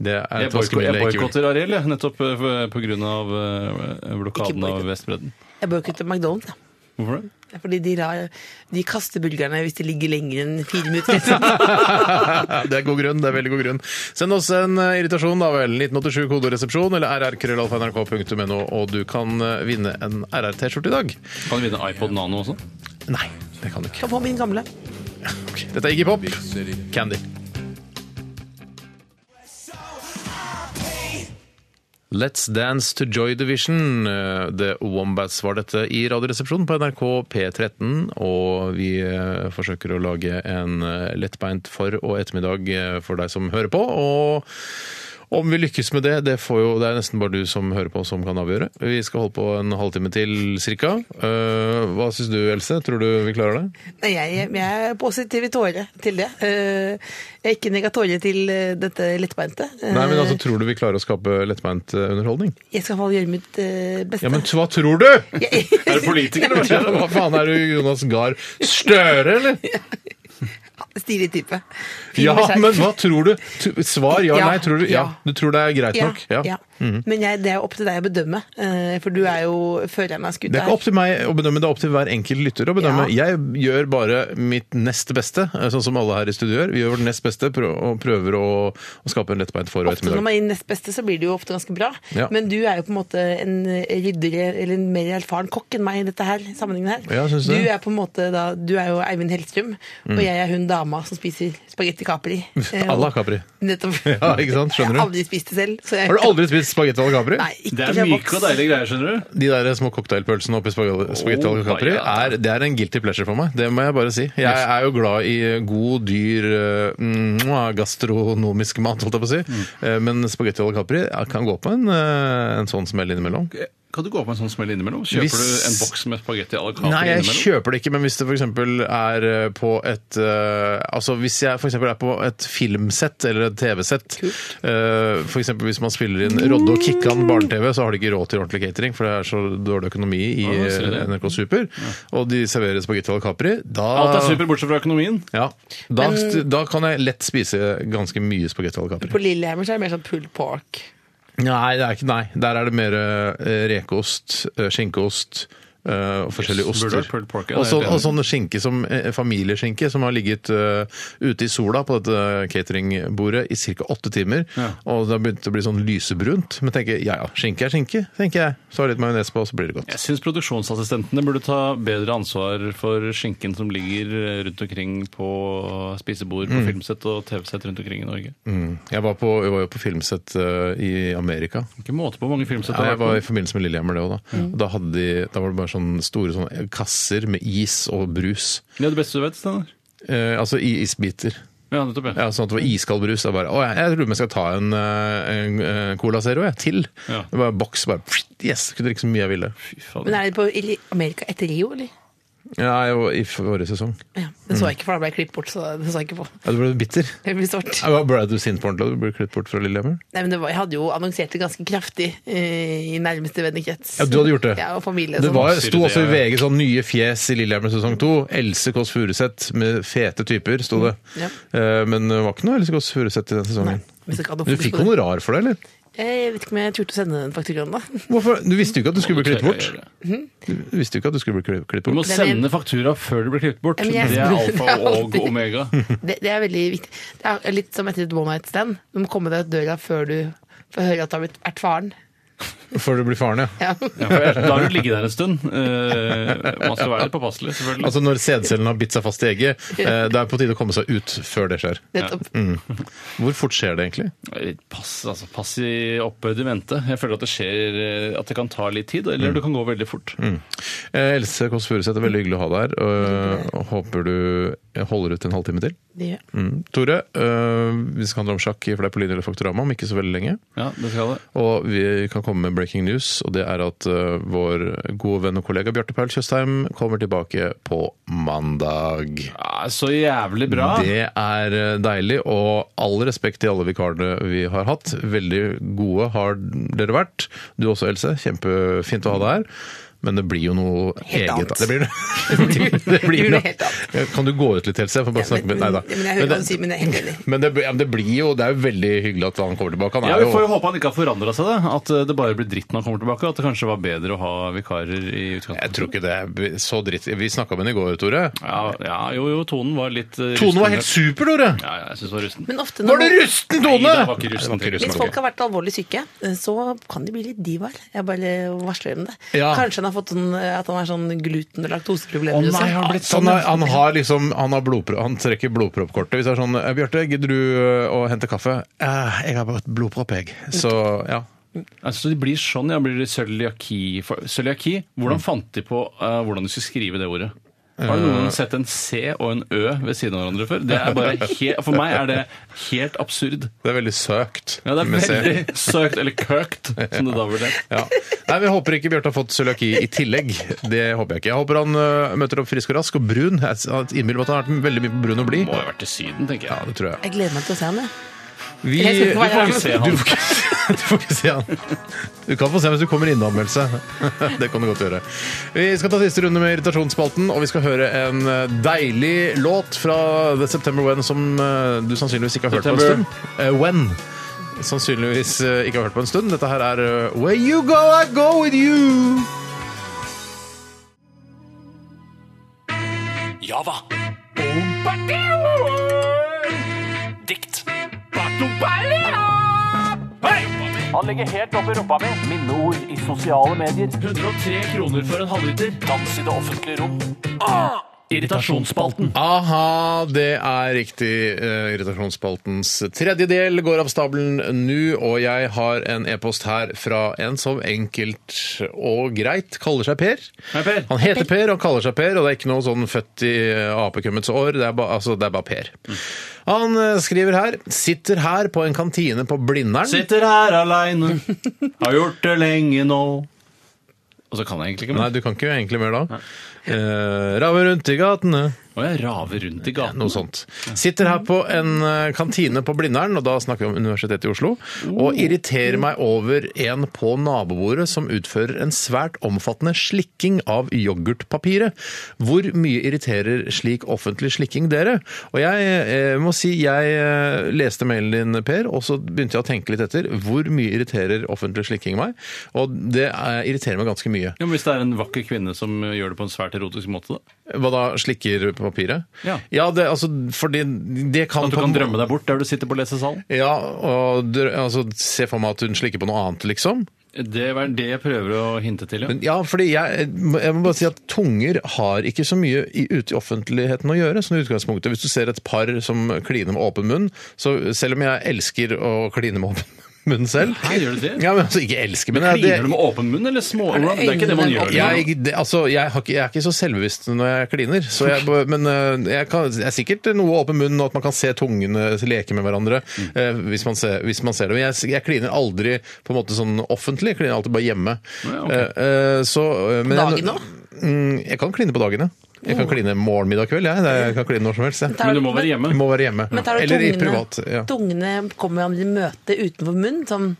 det er Jeg et vaskemiddel jeg ikke vil. boikotter Ariel, eh, jeg, nettopp pga. blokaden Ikke boikott. eh, av Vestbredden. Jeg boikotter McDonald's. jeg. Hvorfor det? Det er Fordi de, rar, de kaster bulgerne hvis de ligger lenger enn fire minutter. det er god grunn. det er veldig god grunn. Send oss en eh, irritasjon, da vel. 1987 kodoresepsjon eller rrkrøllalfa.nrk.no, og du kan eh, vinne en RR-T-skjorte i dag. Kan du vinne iPod Nano også? Nei, det kan du ikke. Ta på min gamle. Ok, Dette er Iggy Pop. Candy. Let's Dance to Joy Division. Eh, The Wombats var dette i Radioresepsjonen på NRK P13. Og vi eh, forsøker å lage en eh, lettbeint for- og ettermiddag eh, for deg som hører på. Og om vi lykkes med det, det, får jo, det er nesten bare du som hører på som kan avgjøre. Vi skal holde på en halvtime til cirka. Eh, Hva syns du, Else? Tror du vi klarer det? Nei, jeg, jeg er positiv i tåre til det. Eh, Jeg er ikke negatore til eh, dette lettbeinte. Eh, Nei, men altså, Tror du vi klarer å skape lettbeint eh, underholdning? Jeg skal i hvert fall gjøre mitt eh, beste. Ja, men hva tror du?! Jeg- Er du politiker, eller? Hva faen er du, Jonas Gahr Støre, eller? Stilig type. Fin Ja, beskjed. men hva tror du? T- Svar ja, Ja, nei, tror du? Ja, ja. du tror det er greit ja, nok? ja. Mm. Men jeg, det er opp til deg å bedømme, eh, for du er jo føreren av skuta Det er ikke opp til meg å bedømme, det er opp til hver enkelt lytter å bedømme. Ja. Jeg gjør bare mitt nest beste, eh, sånn som alle her i studio gjør. Vi gjør vårt nest beste prø- og prøver å, å skape en lettbeint for- og Ofte når ettermiddag. man er nest beste, så blir det jo ofte ganske bra. Ja. Men du er jo på en måte en rydder, eller en mer erfaren kokk enn meg i dette her, sammenhengen her. Ja, synes Mm. du du? er på en måte da, du er jo Eivind Hellstrøm, og jeg er hun dama som spiser spagetti capri. Eh, À la Capri. Nettopp. Ja, ikke sant? Skjønner du? Jeg har aldri spist det selv. Så jeg, Har du aldri spist spagetti à la Capri? Nei, ikke Det er fra myke boks. og deilige greier, skjønner du. De der små cocktailpølsene oppi spag- spagetti Oh al capri my God. er, det er en guilty pleasure for meg. Det må jeg bare si. Jeg er jo glad i god, dyr, eh, mwah, gastronomisk mat, holdt jeg på å si. Eh, Men spagetti al capri eh, kan gå på en, eh, en sånn smell innimellom. Kan du gå på en sånn smell innimellom? Kjøper Hvis- du en boks med spagetti à la carte Nei, jeg innimellom? kjøper det ikke, men hvis det f.eks. er eh, på et eh, Altså hvis jeg f.eks. er på et filmsett eller et TV-sett eh, for eksempel hvis man spiller inn Rodde og Kikkan barne-TV, så har de ikke råd til ordentlig catering, for det er så dårlig økonomi i Ja, jeg ser det. eh, NRK Super. Og de serverer spagetti al capri. Da, Alt er super, bortsett fra økonomien. Ja, da, da kan jeg lett spise ganske mye spagetti al capri. På Lillehammer så er det mer sånn pulled pork. Nei, det er ikke, nei, der er det mer eh, rekeost, eh, skinkeost eh, og forskjellige Yes, burde oster. vært pulled pork, ja, og, det er så, jeg enig i. og sånn skinke som eh, familieskinke som har ligget eh, ute i sola på dette cateringbordet i ca. åtte timer. Ja. Og det har begynt å bli sånn lysebrunt. Men tenker jeg, ja ja, skinke er skinke, tenker jeg. Så har jeg litt majones på, og så blir det godt. Jeg syns produksjonsassistentene burde ta bedre ansvar for skinken som ligger eh, rundt omkring på spisebord, på filmsett og TV-sett rundt omkring i Norge. Mm. Jeg, var på, jeg var jo på filmsett eh, i Amerika. Ikke måte på hvor mange filmsett Ja, det jeg har var i vært på. forbindelse med Lillehammer det òg, da. Og Da, hadde de, da var det bare sånne store sånne kasser med is og brus. Det er det beste du vet, Steinar. Eh, altså i isbiter. Ja, nettopp. Ja. Ja, sånn at det var iskald brus. Jeg, bare, å, jeg, jeg tror vi skal ta en, eh, en, eh, Cola Zero jeg, til. Ja. Det var en boks, bare pst, Yes! Kunne drikke så mye jeg ville. Fy Men fader. er det på i Amerika etter Rio, eller? Ja, jeg var I forrige sesong. Ja, Mm. den så jeg ikke, for da ble jeg klippet bort, så den så jeg ikke på. Ja, Du ble bitter. Det blir svart. Ja, Ble du sint på ordentlig da du ble klippet bort fra Lillehammer? Nei, men det var, Jeg hadde jo annonsert det ganske kraftig eh, i nærmeste vennekrets. Ja, du hadde gjort det. Ja, og familie. Det og var, sånn. sto også i VG sånn nye fjes i Lillehammer sesong to. Else Kåss Furuseth med fete typer, sto det. Mm, Ja. Eh, Men det var ikke noe Else Kåss Furuseth i den sesongen. Hvis jeg ikke hadde Du fokus fikk på det. honorar for det, eller? Jeg vet ikke om jeg turte å sende den fakturaen, da. Hvorfor? Du visste jo ikke at du skulle bli klippet bort. Du Du visste jo ikke at du skulle bli klippet bort. må sende faktura før du blir klippet bort. Ja, men Det jeg- er alfa og Alltid. omega. Det, det er veldig viktig. Det er litt som etter et one night stand. Du må komme deg ut døra før du får høre at du har blitt vært faren. Før du blir faren, ja. Ja. Ja, for ellers- Da har du ligget der en stund. Eh, Man skal være litt påpasselig, selvfølgelig. Altså når sædcellen har bitt seg fast i egget, eh, det er på tide å komme seg ut før det skjer. Nettopp. Hvor fort skjer det egentlig? Pass, altså, pass i opphøyd i vente. Jeg føler at det skjer eh, at det kan ta litt tid, Mm. eller det kan gå veldig fort. Eh, Else Kåss Furuseth, det er veldig hyggelig å ha deg her. og- Og håper du holder ut en halvtime til. Det gjør jeg. Mm. Tore, eh, vi skal handle om sjakk for deg på Lyn eller Faktorama om ikke så veldig lenge. Ja, det skal det. Og vi kan komme med breaking news, og det er at eh, vår gode venn og kollega Bjarte Paul Tjøstheim kommer tilbake på mandag. Ja, så jævlig bra. Det er eh, deilig, og all respekt til alle vikarene vi har hatt. Veldig gode har dere vært. Du også, Else. Kjempefint å ha deg her. men det blir jo noe eget. Helt annet. Da. Det blir, det blir, blir noe noe- helt Kan du gå ut litt, Else? Jeg får bare snakke med men, Nei da. men jeg hører hva det- du sier, men jeg er helt enig. men det, ja, men det blir jo Det er jo veldig hyggelig at han kommer tilbake. Han Ja, er Vi får jo jo håpe han ikke har forandra seg, da. At eh, det bare blir dritt når han kommer tilbake. og At det kanskje var bedre å ha vikarer i Jeg utgangspunktet. tror ikke det er så dritt. Vi snakka med henne i går, Tore. Ja, ja, jo, jo, tonen var litt eh, Tonen var rusten. helt super, Tore! Ja, ja, jeg synes det var rusten. Men ofte Var det når rusten, Tone? Nei, det var ikke rusten. Nei, det var ikke Hvis rusten, folk har vært alvorlig syke, eh, så kan de bli litt divaer. Jeg bare varsler om det. Ja. Kanskje han har fått sånn, at han har sånn gluten- og Å laktoseproblemer. og nei, sånn. har han blitt Så sånn? han, har, ja? han har liksom Han, har blodpro han trekker blodproppkortet. Hvis det er sånn «Eh, 'Bjarte, gidder du eh, å hente kaffe?' «Eh, 'Jeg har bare et blodpropp, jeg.' Så ja. Altså, de blir sånn, ja. Blir det cøliaki for- Cøliaki, hvordan fant de på eh, hvordan du skulle skrive det ordet? Har du noen gang sett en C og en Ø ved siden av hverandre før? Det er bare helt, for meg er det helt absurd. Det er veldig søkt. Ja, det er med C. veldig søkt, eller kirkt, som det da ble det. Ja. Nei, Vi håper ikke Bjarte har fått cøliaki i tillegg. Det håper jeg ikke. Jeg håper han eh, møter opp frisk og rask og brun. Jeg innbiller meg at han har vært veldig mye på brun og blid. Må ha vært i Syden, tenker Ja, jeg. det tror jeg. Jeg gleder meg til å se han, jeg. Vi, Jeg skal ikke være Du får her. ikke se han. Du får ikke, du får ikke se han. Du kan få se hvis du kommer inn i anmeldelse. Det kan du godt gjøre. Vi skal ta siste runde med irritasjonsspalten, og vi skal høre en eh, deilig låt fra The September When som eh, du sannsynligvis ikke har hørt på en September. stund. Eh, When. Sannsynligvis eh, ikke har hørt på en stund. Dette her er eh, Where You Go, I Go With You. Java. Dikt. Han legger helt opp i rumpa mi. Minneord i sosiale medier. 103 kroner for en halvliter. Dans i det offentlige rom. Irritasjonsspalten. Aha, det er riktig. Eh, Irritasjonsspaltens tredje del går av stabelen nå, og jeg har en e-post her fra en som enkelt og greit kaller seg Per. Hei, Per. Han heter Per, han kaller seg Per, og det er ikke noe sånn født i eh, apekummets år. Det er, ba, altså, det er bare Per. Han eh, skriver her Sitter her på en kantine på Blindern. Sitter her aleine, har gjort det lenge nå. Og så kan jeg egentlig ikke Nei, mer. du kan ikke egentlig mer da. Eh, Raver rundt i gatene. Og jeg raver rundt i gaten. Noe sånt. Sitter her på en eh, kantine på Blindern, og da snakker vi om Universitetet i Oslo, Oh. og irriterer meg over en på nabobordet som utfører en svært omfattende slikking av yoghurtpapiret. Hvor mye irriterer slik offentlig slikking dere? Og jeg eh, må si, jeg eh, leste mailen din, Per, og så begynte jeg å tenke litt etter. Hvor mye irriterer offentlig slikking meg? Og det eh, irriterer meg ganske mye. Ja, men hvis det er en vakker kvinne som eh, gjør det på en svært erotisk måte, da? Hva da, slikker papiret? Ja. Sånn det, altså, fordi det kan At du på- kan drømme deg bort der du sitter på lesesalen? Ja, og dr- altså, se for meg at hun slikker på noe annet, liksom. Det er det jeg prøver å hinte til, ja. Men ja, fordi jeg, jeg må bare si at tunger har ikke så mye i, ute i offentligheten å gjøre, sånn i utgangspunktet. Hvis du ser et par som kliner med åpen munn, så selv om jeg elsker å kline med åpen munn selv Nei, gjør du det? Ja, men altså, ikke elsker, men, jeg- Kliner du med åpen munn eller små? Det er ikke det man gjør. liksom. jeg, det, altså, jeg, har ikke, jeg er ikke så selvbevisst når jeg kliner, så jeg, men eh, jeg, kan, jeg er sikkert noe åpen munn og at man kan se tungene leke med hverandre Mm. eh, hvis, man ser, hvis man ser det. Men jeg, jeg kliner aldri på en måte sånn offentlig, jeg kliner alltid bare hjemme. Ja, ok. Eh, eh, så, eh, men jeg- Dagen nå? Mm, Jeg kan kline på dagene. Jeg kan kline morgen, middag, kveld. Jeg, jeg kan kline når som helst. Jeg. tar- Men du må være hjemme. Jeg må være hjemme. Men tar du Eller i tungene- privat. Ja. Tungene kommer han i møte utenfor munnen, som,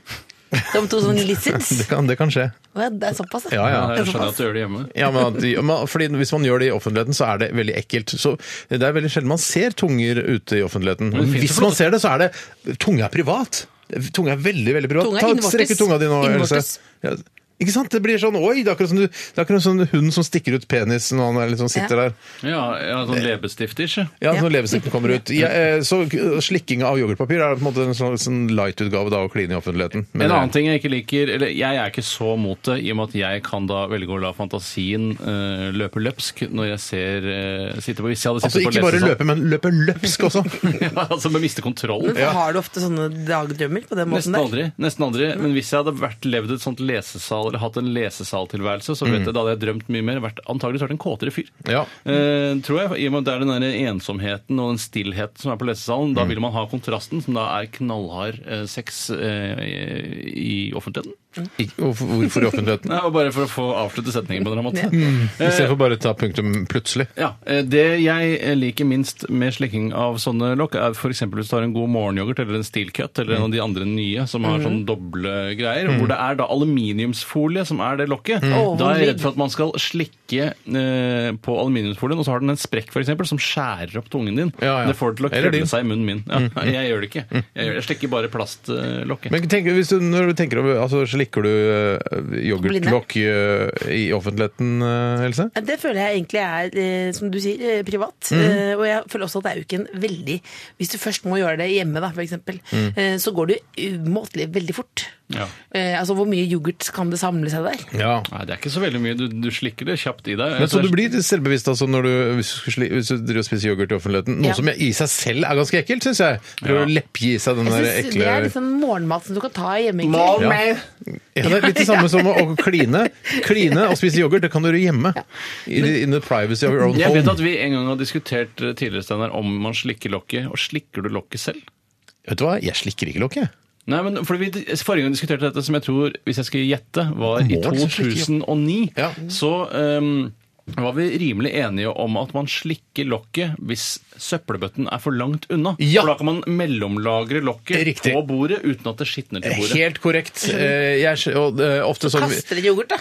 som to sånne lizards. Det kan, det kan skjønne. Å ja, Det er såpass, Ja, ja. Jeg skjønner at du gjør det hjemme. Ja, men at, ja, men fordi Hvis man gjør det i offentligheten, så er det veldig ekkelt. Så Det er veldig sjelden man ser tunger ute i offentligheten. Men det finnes Hvis jo- man ser det, så er det Tunge er privat. Tunge er veldig, veldig privat. Tunge er Ta- innvortes. Strekk ut tunga di nå, Else. Innvortes. Ja. Ikke sant? Det blir sånn Oi! Det er akkurat som, du, det er akkurat som en hund som stikker ut penisen når han er liksom sitter Ja. der. Ja, ja sånn Eh. leppestift-ish. ja. Ja, Ja. Når leppestiften kommer ut. Ja, eh, så k- slikking av yoghurtpapir er på en måte en sånn, sånn light-utgave da å kline i offentligheten. Men en annen ting jeg ikke liker, eller jeg er ikke så mot det, i og med at jeg kan da velge å la fantasien eh, løpe løpsk når jeg ser eh, sitter på, Hvis jeg hadde Altså sittet ikke på bare lesesal- løpe, men løpe løpsk også. ja, altså med miste kontrollen. Men Har du ofte sånne dagdrømmer på den måten Nesten der? aldri. nesten aldri, Men hvis jeg hadde vært, levd et sånt lesesal, eller hatt en lesesaltilværelse, så vet jeg, da hadde jeg drømt mye mer. Vært, antageligvis vært en kåtere fyr. Ja. Eh, tror jeg, i og med at Det er den der ensomheten og den stillheten som er på lesesalen. Da vil man ha kontrasten, som da er knallhard eh, sex eh, i offentligheten. Ik- Hvorfor hvorfor i offentligheten? Nei, og bare for å få avslutte setningen på en eller annen måte. I stedet for bare ta punktum plutselig. Ja, eh, Det jeg liker minst med slekking av sånne lokk, er f.eks. hvis du har en god morgenyoghurt eller en steel cut eller en av de andre nye som har Mm. sånn doble greier, hvor det er da aluminiumsfolie som er det lokket. Mm. Åh, Da er hvor jeg redd for at man skal slikke eh, på aluminiumsfolien, og så har den en sprekk f.eks. som skjærer opp tungen din. Ja, ja. Det får det til å Eller din. Mm. krølle seg i munnen min. Ja, Jeg gjør det ikke. Jeg, gjør, jeg slikker bare plastlokket. Men tenk, hvis du, når du tenker over, altså Slikker du uh, yoghurtlokk eh, i offentligheten, eh, Else? Det føler jeg egentlig er, eh, som du sier, eh, privat. Mhm. Eh, Og jeg føler også at det er jo ikke en veldig Hvis du først må gjøre det hjemme, da, for eksempel, Mhm. eh, så går det jo umåtelig veldig fort. Ja. Eh, Altså, hvor mye yoghurt kan det samle seg der? Ja. Nei, det er ikke så veldig mye. Du, du slikker det kjapt i deg. Men så du blir selvbevisst altså når du, hvis du, skulle sli- hvis du driver og spiser yoghurt i offentligheten? Noe Ja. som i seg selv er ganske ekkelt, syns jeg. Prøver å leppgi i seg den Jeg der synes ekle Det er liksom morgenmat som du kan ta hjemme. egentlig. ja. ja, det er litt det samme som å, å kline. Kline og spise yoghurt, det kan du gjøre hjemme. I the- In the privacy of your own Jeg vet home. at vi en gang har diskutert eh, tidligere Steinar, om man slikker lokket. Og slikker du lokket selv? Vet du hva, jeg slikker ikke lokket. Nei, men fordi vi Forrige gang diskuterte dette, som jeg tror, hvis jeg skal gjette, var i Må liksom slikke, ja. 2009. Ja. Så ehm, var vi rimelig enige om at man slikker lokket hvis søppelbøtten er for langt unna. Ja. For da kan man mellomlagre lokket Riktig. på bordet uten at det skitner til bordet. Helt korrekt. Eh, Jeg, sk- og, eh, ofte sånn, Kaster litt yoghurt, da.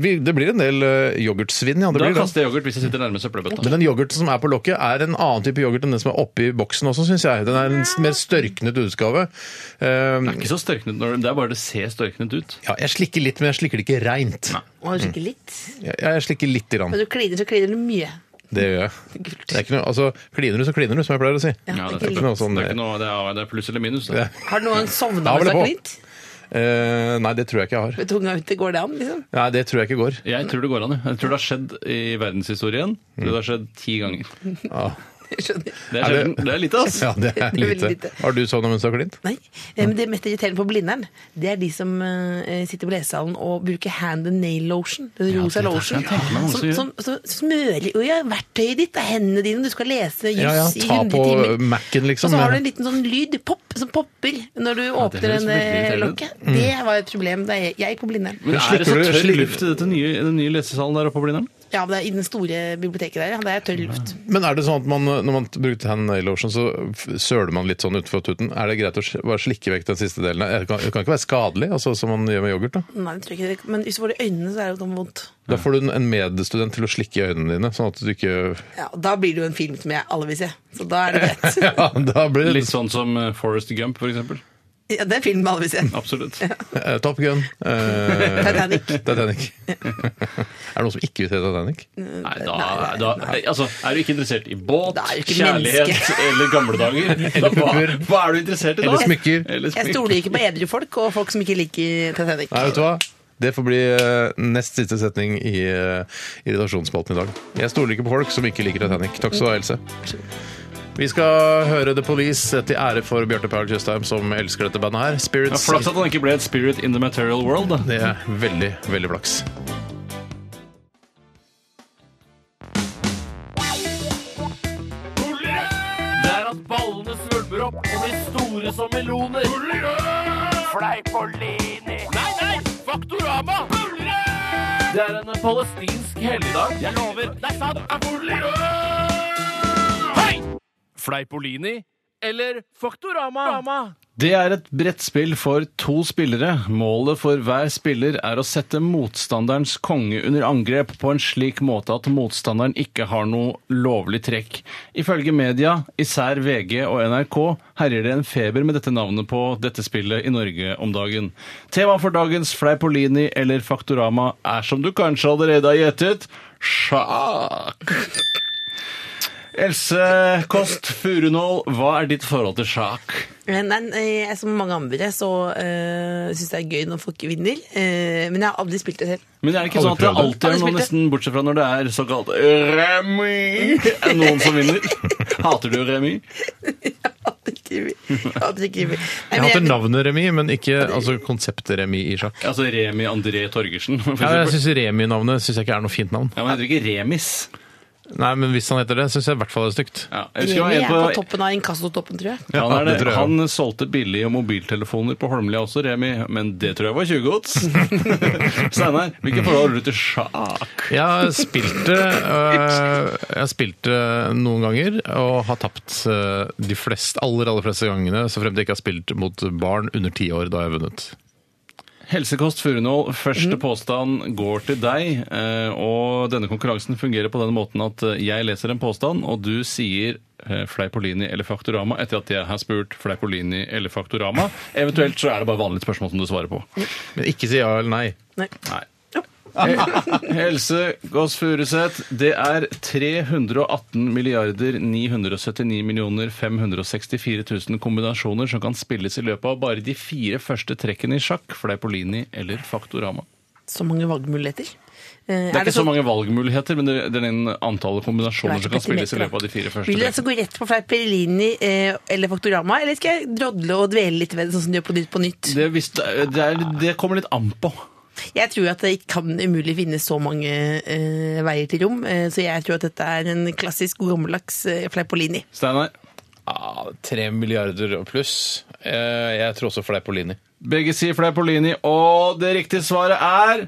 vi, det blir en del eh, yoghurtsvinn, ja. Det Da blir det. kaster jeg yoghurt hvis jeg sitter nærme søppelbøtta. Men den yoghurten som er på lokket, er en annen type yoghurt enn den som er oppi boksen også, syns jeg. Den er en s- mer størknet utgave. Eh, Det er ikke så størknet, når det- det er bare det ser størknet ut. Ja, jeg slikker litt, men jeg slikker det ikke reint. Og Kanskje ikke litt. Jeg, jeg slikker litt. Grann. Men du kliner, så kliner du mye. Det gjør jeg. Gult. Det er ikke noe, altså, kliner du, så kliner du, som jeg pleier å si. Ja, det, det er ikke er noe klart. sånn- det, er ikke noe, det, er, det er pluss eller minus. Da. Ja. Har du noen gang sovna Da var mens du det har på. klint? Eh, nei, det tror jeg ikke jeg har. Med tunga ute, går det an? liksom? Nei, Det tror jeg ikke går. Jeg tror det går an. ja. Jeg tror det har skjedd i verdenshistorien. Jeg tror Det har skjedd ti ganger. Ja, Jeg skjønner. Det Er er, det- sjelden. det er lite, ass. ja det er Det er veldig lite. lite. Har du sovna mens du har klint? Nei, eh, men Det mest irriterende på Blindern det er de som eh, sitter på lesesalen og bruker hand and nail lotion. Den rosa det er lotion. det jeg tenker meg noen som Som, gjør. som, som smører jo, ja, verktøyet ditt av hendene dine når du skal lese juss Ja, ja, i ta 100 på timer. Mac-en, liksom. Og så har du en liten sånn lyd pop, som popper når du åpner høres en veldig eh, irriterende ut. Mm. lokket. Det var et problem da jeg, jeg gikk på Blindern. Men Slikker er det så du- tørr slikker- luft i dette nye, i den nye lesesalen der oppe på Blindern? Ja, men det er I den store biblioteket der. Ja, det er tørr luft. Mm. Men er det sånn at man, når man brukte hand nail lotion, så f- søler man litt sånn utenfor tuten? Er det greit å s- bare slikke vekk den siste delen? Eh, Det kan, det kan ikke være skadelig, altså, som man gjør med yoghurt. da. Nei, det tror jeg ikke. Men hvis du får det i øynene, så er det jo noe vondt. Da får du en medstudent til å slikke i øynene dine, sånn at du ikke Ja, og Da blir det jo en film som jeg alle vil se. Så da er det greit. Ja, da blir det Litt sånn som eh, Forrest Gump, for eksempel. Ja, det er en film alle vil se. Absolutt. Eh, Top Gun. eh, Titanic. Titanic. er det noen som ikke vil se Titanic? Nei, da, da, altså, er du ikke interessert i båt, Da er du ikke kjærlighet menneske. eller gamle dager? Da, hva, pupper. hva er du interessert i da? Eller smykker. Eller Jeg smykker. stoler ikke på edru folk og folk som ikke liker Titanic. Nei, vet du hva? Det får bli eh, nest siste setning i, eh, i redaksjonsspalten i dag. Jeg stoler ikke på folk som ikke liker Titanic. Takk skal du ha, Else. Vi skal høre The Police til ære for Bjarte Paul Tjøstheim, som elsker dette bandet her. Ja, Spirits. Flaks at han ikke ble et spirit in the material world. Da. Det er veldig, veldig flaks. Det er at ballene svulmer opp og blir store som meloner. Fleipolini. Nei, nei! Faktorama. Det er en palestinsk helligdag. Jeg lover. Det er sant. Hei! Fleipolini eller Faktorama? Det er et brettspill for to spillere. Målet for hver spiller er å sette motstanderens konge under angrep på en slik måte at motstanderen ikke har noe lovlig trekk. Ifølge media, især VG og NRK, herjer det en feber med dette navnet på dette spillet i Norge om dagen. Temaet for dagens Fleipolini eller Faktorama er, som du kanskje allerede har gjettet, sjakk. Else Kåst Furunål, hva er ditt forhold til sjakk? Nei, eh, jeg, som mange andre så uh, syns det er gøy når folk vinner, eh, men jeg har aldri spilt det selv. Men er det ikke Alle sånn at det prøvde. alltid er Alle noen, spilte. nesten bortsett fra når det er såkalt remis, er det noen som vinner? Hater du remis? Jeg hater ikke vi- Jeg hater ikke vi- Nei, Jeg men hater jeg- navnet remis, men ikke altså, konseptet remis i sjakk. Altså Remi André Torgersen, for Ja, jeg eksempel. syns remis-navnet synes jeg ikke er noe fint navn. Ja, men heter det ikke remis? Nei, men hvis han heter det, syns jeg i hvert fall det er stygt. Ja, jeg husker Jimmy det er på var en på toppen av inkassotoppen, tror jeg. han, er det tror det. jeg. han solgte billige mobiltelefoner på Holmlia også, Remi, men det tror jeg var tjuvgods. Steinar, hvilke forhold har du til sjakk? Jeg har spilt det øh, Jeg har spilt det noen ganger og har tapt øh, de flest, aller aller fleste gangene så frem til jeg ikke har spilt mot barn under ti år. Da har jeg vunnet. Helsekost Furunål, første påstand går til deg. eh, Og denne konkurransen fungerer på den måten at eh, jeg leser en påstand, og du sier eh, Fleipolini eller Faktorama etter at jeg har spurt Fleipolini eller Faktorama. Eventuelt så er det bare vanlige spørsmål som du svarer på. Men ikke si ja eller nei. Nei. Nei. Helse Gås Furuseth, det er 318 milliarder 979 millioner 564 000 kombinasjoner som kan spilles i løpet av bare de fire første trekkene i sjakk, Fleipolini eller Faktorama. Så mange valgmuligheter. Eh, Det er, ikke så sånn- mange valgmuligheter, men det det er den antallet kombinasjoner som kan spilles i petimeter, løpet av de fire da. første Vil du altså trekkene. gå rett på Fleiperlini eh, eller Faktorama, eller skal jeg drodle og dvele litt ved det, sånn som du gjør på Nytt på Nytt? Det, visste, det, er, det kommer litt an på. Jeg tror at det ikke kan umulig finnes så mange eh, veier til rom, eh, så jeg tror at dette er en klassisk god gammeldags eh, Fleipolini. Steinar? Ja, Tre milliarder og pluss. Eh, Jeg tror også Fleipolini. Begge sier Fleipolini, og det riktige svaret er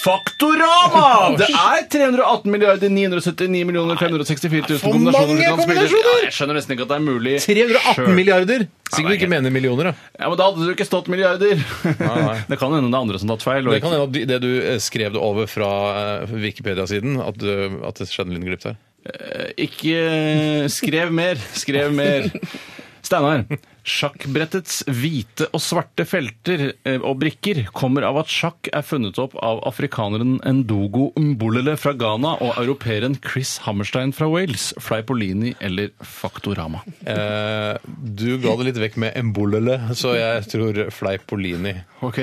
Faktorama! Det er 318 milliarder 979 millioner 564 000 For mange kombinasjoner du kan spille. kombinasjoner! Ja, jeg skjønner nesten ikke at det er mulig. 318 Sure. milliarder! Sikkert det du er ikke mener millioner, da. Ja, men Da hadde du ikke stått milliarder. nei. Det kan hende det er andre som har tatt feil. og Det kan ikke- hende at det du eh, skrev det over fra eh, Wikipedia-siden, at, du- at det skjedde en liten glipp der. Eh, Ikke eh, skrev mer, skrev mer. Steinar. Sjakkbrettets hvite og svarte felter eh, og brikker kommer av at sjakk er funnet opp av afrikaneren Endogo Mbolele fra Ghana og europeeren Chris Hammerstein fra Wales. Fleipolini eller Faktorama? Eh, Du ga det litt vekk med embolele, så jeg tror Fleipolini. Ok,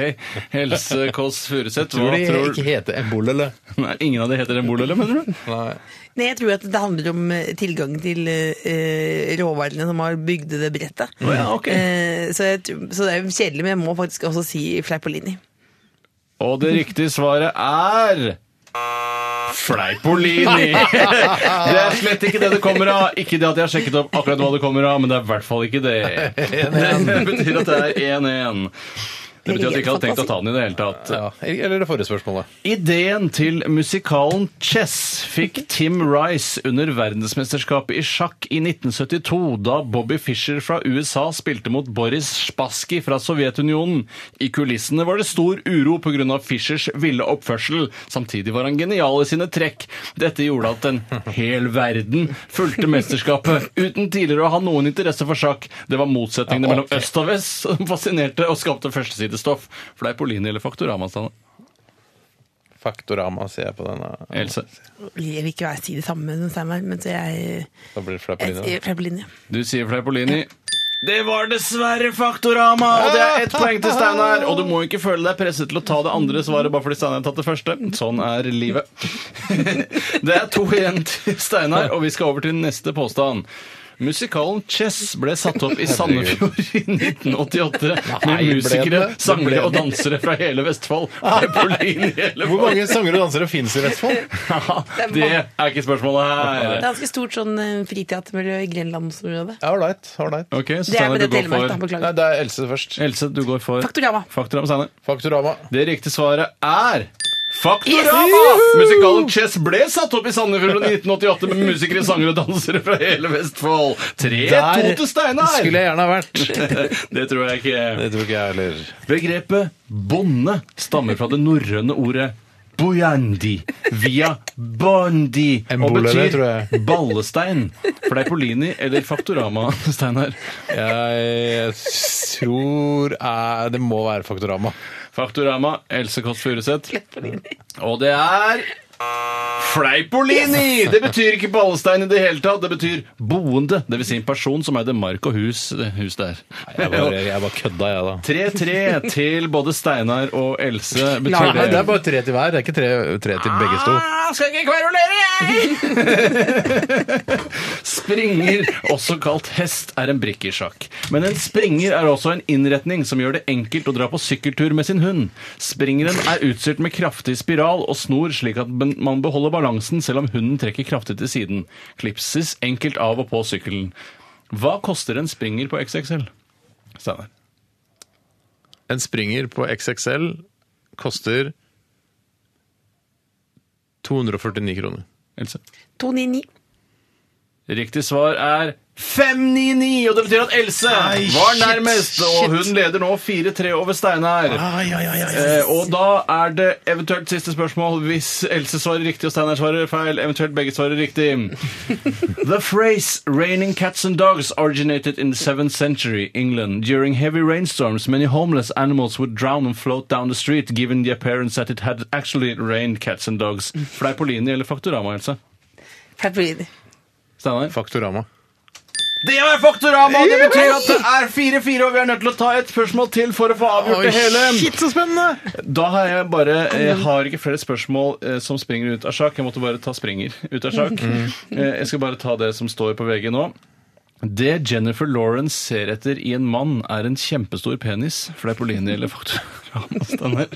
Helse Kåss Furuseth, hva Tror de tror ikke heter embolele. Nei, Ingen av de heter Mbolele, mener du? Nei. Nei, jeg tror at det handler om eh, tilgang til eh, råvarene som har bygd det brettet. ja, ok. Eh, så, jeg, tror- så det er jo kjedelig, men jeg må faktisk også si Fleipolini. Og det riktige svaret er Fleipolini! Det er slett ikke det det kommer av. Ikke det at jeg har sjekket opp akkurat hva det kommer av, men det er i hvert fall ikke det. Det betyr at det er 1-1. Det betyr at vi ikke hadde tenkt å ta den i det hele tatt. Ja. Eller det forrige spørsmålet. Ideen til musikalen Chess fikk Tim Rice under verdensmesterskapet i sjakk i 1972, da Bobby Fischer fra USA spilte mot Boris Spassky fra Sovjetunionen. I kulissene var det stor uro pga. Fischers ville oppførsel. Samtidig var han genial i sine trekk. Dette gjorde at en hel verden fulgte mesterskapet, uten tidligere å ha noen interesse for sjakk. Det var motsetningene mellom øst og vest som fascinerte og skapte førstesidestoff. Fleipolini eller Faktorama, Steinar? Faktorama ser jeg på eh, denne. Else? Jeg vil ikke være si det samme som Steinar, men så jeg, Da blir det jeg Fleipolini. sier Fleipolini. Du sier Fleipolini. Det var dessverre Faktorama! Og det er ett Ah, poeng til Steinar. Og du må ikke føle deg presset til å ta det andre svaret bare fordi Steinar har tatt det første. Sånn er livet. Det er to igjen til Steinar, og vi skal over til neste påstand. Musikalen Chess ble satt opp i Sandefjord i 1988 med ble musikere, det? sangere og dansere fra hele Vestfold. Fleipolini eller Hvor mange sangere og dansere fins i Vestfold? Det er ikke spørsmålet Det er her. ganske stort sånn eh, friteatermiljø i Grenlandsområdet. Ålreit. Ålreit. Ok, så Det er Steinar, med du det går Telemark, da. for Nei, Beklager. det er Else først. Else, du går for Faktorama. Faktorama, Steinar. Faktorama. Det riktige svaret er Faktorama! Yes! Musikalen Chess ble satt opp i Sandefjord i 1988 med musikere, sangere og dansere fra hele Vestfold. 3-2 til skulle Steinar! jeg gjerne ha vært. Det tror jeg ikke. Det tror ikke jeg heller. Begrepet bonde stammer fra det norrøne ordet Bojandi via bondi En og bolere, betyr tror jeg. ballestein. Fleipolini eller Faktorama, Steinar? Jeg tror eh, Det må være Faktorama. Faktorama, Else Kåss Furuseth. Og det er Fleipolini! Det betyr ikke ballestein i det hele tatt. Det betyr boende. Det vil si en person som eide mark og hus, det hus der. Jeg bare, jeg bare kødda, jeg, da. 3-3 til både Steinar og Else. Nei, Betyr det det er bare tre til hver. Det er ikke tre, tre til begge to. Ah, skal ikke kverulere, jeg! springer, også kalt hest, er en brikke i sjakk. Men en springer er også en innretning som gjør det enkelt å dra på sykkeltur med sin hund. Springeren er utstyrt med kraftig spiral og snor, slik at ben- man beholder balansen selv om hunden trekker kraftig til siden. Klipses enkelt av og på sykkelen. Hva koster en springer på XXL? Steinar. En springer på XXL koster 249 kroner. Else. 299. Riktig svar er 599, og det betyr at Else var nærmest, og hun leder nå 4-3 over Steinar. Ah. Eh, og da er det eventuelt siste spørsmål hvis Else svarer riktig og Steinar svarer feil, eventuelt begge svarer riktig. The phrase 'raining cats and dogs' originated in the 7th century England. During heavy rainstorms, many homeless animals would drown and float down the street, given the appearance that it had actually rained cats and dogs. Fleipolini eller Faktorama, Else? Flatbreed. Steinar? Faktorama. Det er Faktorama! Det betyr at det er 4-4, og vi er nødt til å ta et spørsmål til for å få avgjort det hele. shit, så spennende! Da har jeg bare Jeg har ikke flere spørsmål eh, som springer ut av sjakk. Jeg måtte bare ta springer ut av sjakk. Eh, Jeg skal bare ta det som står på VG nå. Det Jennifer Lawrence ser etter i en mann, er en kjempestor penis. Fleipolini eller Faktorama, Steinar?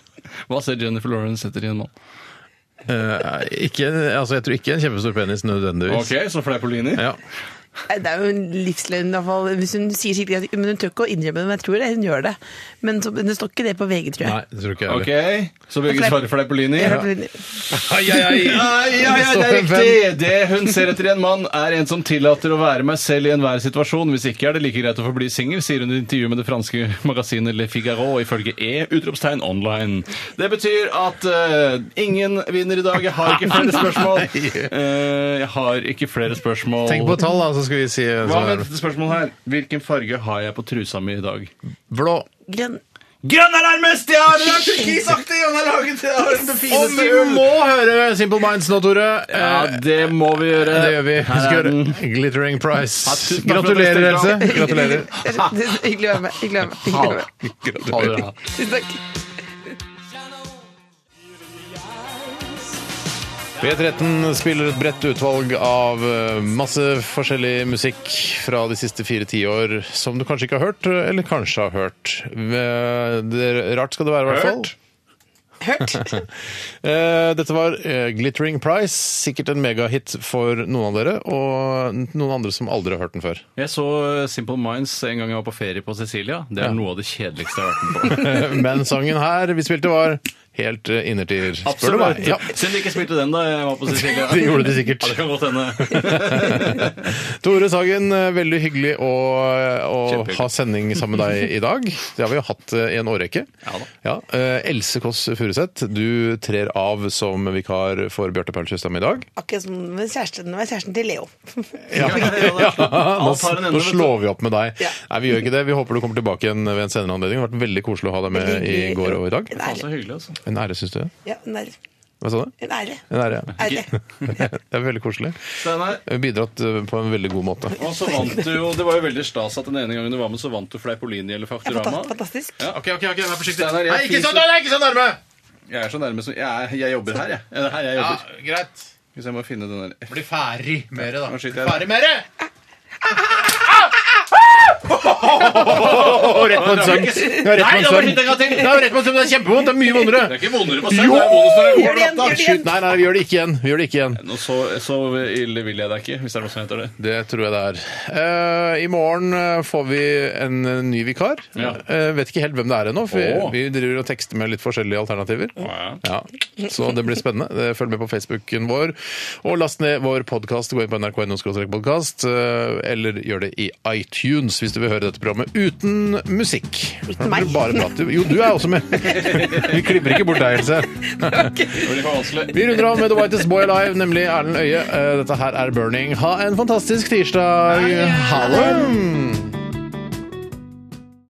Hva ser Jennifer Lawrence etter i en mann? Eh, ikke, altså, jeg tror ikke en kjempestor penis nødvendigvis. Ok, så Fleipolini. Ja. Nei, Det er jo en livsløgn, i hvert fall. Hvis hun sier skikkelig at Men hun tør ikke å innrømme det, men jeg tror det, hun gjør det. Men så, men det står ikke det på VG, tror Nei, jeg. det tror ikke jeg Ok, heller. Så begge svarer Fleipolini. Jeg hørte- Ai, ai, ai. Ja, ja, ja, det er riktig! Det hun ser etter i en mann, er en som tillater å være meg selv i enhver situasjon. Hvis ikke er det like greit å forbli singel, sier hun i et intervju med det franske magasinet Le Figaro, ifølge E! utropstegn online. Det betyr at eh, ingen vinner i dag. Jeg har ikke flere spørsmål. Eh, jeg har ikke flere spørsmål. Tenk på tall, da, så skal vi si hvem Hva som med er dette spørsmålet her? Hvilken farge har jeg på trusa mi i dag? blå. Grønn. Grønn er nærmest! Ja! Den er turkisaktig! og Den er laget av det Og vi fineste ull! må høre Simple Minds nå, Tore. Ja, Eh, det må vi gjøre. det gjør vi. Her er Husk å gjøre den. Glittering Ja, Prize. tusen takk for at du Gratulerer, Else. stilte opp. Gratulerer. Det er Hyggelig å være med. Hyggelig å være med. Hyggelig å være med. Ha det bra. Tusen takk. P13 spiller et bredt utvalg av eh, masse forskjellig musikk fra de siste fire tiår som du kanskje ikke har hørt, eller kanskje har hørt. Eh, Det rart skal det være, i hvert fall. Hørt? Hørt. Eh, Dette var eh, Glittering Price, sikkert en megahit for noen av dere, og noen andre som aldri har hørt den før. Jeg så eh, Simple Minds en gang jeg var på ferie på Sicilia. Det er Ja. noe av det kjedeligste jeg har vært med på. Men sangen her vi spilte var helt eh, innertier. Spør du meg? Ja. Synd de ikke spilte den da jeg var på Sicilia. Det gjorde de sikkert. Ja, det kan godt hende. Tore Sagen, eh, veldig hyggelig å, å Kjempehyggelig. ha sending sammen med deg i dag. Det har vi jo hatt eh, i en årrekke. Ja da. eh, Else Kåss Furuseth, du trer av som vikar for Bjarte Paul Tjøstheim i dag. Akkurat som med kjæresten, med kjæresten til Leo. Ja. Nå, Alt har en ende, nå vet du. slår vi opp med deg. Ja. Nei, Nei, vi gjør ikke det. Vi håper du kommer tilbake igjen ved en senere anledning. Det har vært veldig koselig å ha deg med i Veldig- går og i dag. En ære. Så hyggelig, altså. En ære, syns du? Ja, en ære. Hva sa du? En ære. En ære, ja. ære. Det er veldig koselig. Steinar, Bidratt eh, på en veldig god måte. og så vant du jo Det var jo veldig stas at den ene gangen du var med, så vant du Fleipolini eller Ja, Faktorama. fanta- Fantastisk. Ja, Ok, ok, ok, vær forsiktig. Steinar, jeg Nei, ikke fiser- så nærme! Ikke så nærme! Jeg er så nærme som Jeg, er, jeg jobber her, jeg. Det er her jeg Ja, jobber. greit. Hvis jeg må finne den der Bli ferdig mer, da. Nå skyter jeg. Ferdig mer! Rett på en sønn. Nei, da må jeg skyte en gang til. Det er jo rett på en sønn. Det er kjempevondt. Det er mye Det er vondere. ikke vondere på Jo! søndag. det er vondest når det Gjør det igjen, går gjør det Skyt. igjen. Nei, nei, vi gjør det ikke igjen. Vi gjør det ikke igjen. Nå så, så ille vil jeg deg ikke, hvis det er noe som heter det. Det tror jeg det er. Eh, I morgen eh, får vi en eh, ny vikar. Ja. Eh, vet ikke helt hvem det er ennå, for vi, Åh. vi driver og tekster med litt forskjellige alternativer. ja. Ja. Så det blir spennende. Eh, Følg med på Facebooken vår, og last ned vår podkast. Gå inn på nrk.no podkast, eller gjør det i iTunes hvis du vil høre dette programmet uten musikk. Uten meg. Bare prat. Du- Jo, du er også med. Vi klipper ikke bort deg, Else. Det blir for vanskelig. Vi runder av med The Whitest Boy Alive, nemlig Erlend Øye. Eh, Dette her er Burning. Ha en fantastisk tirsdag. Ha det!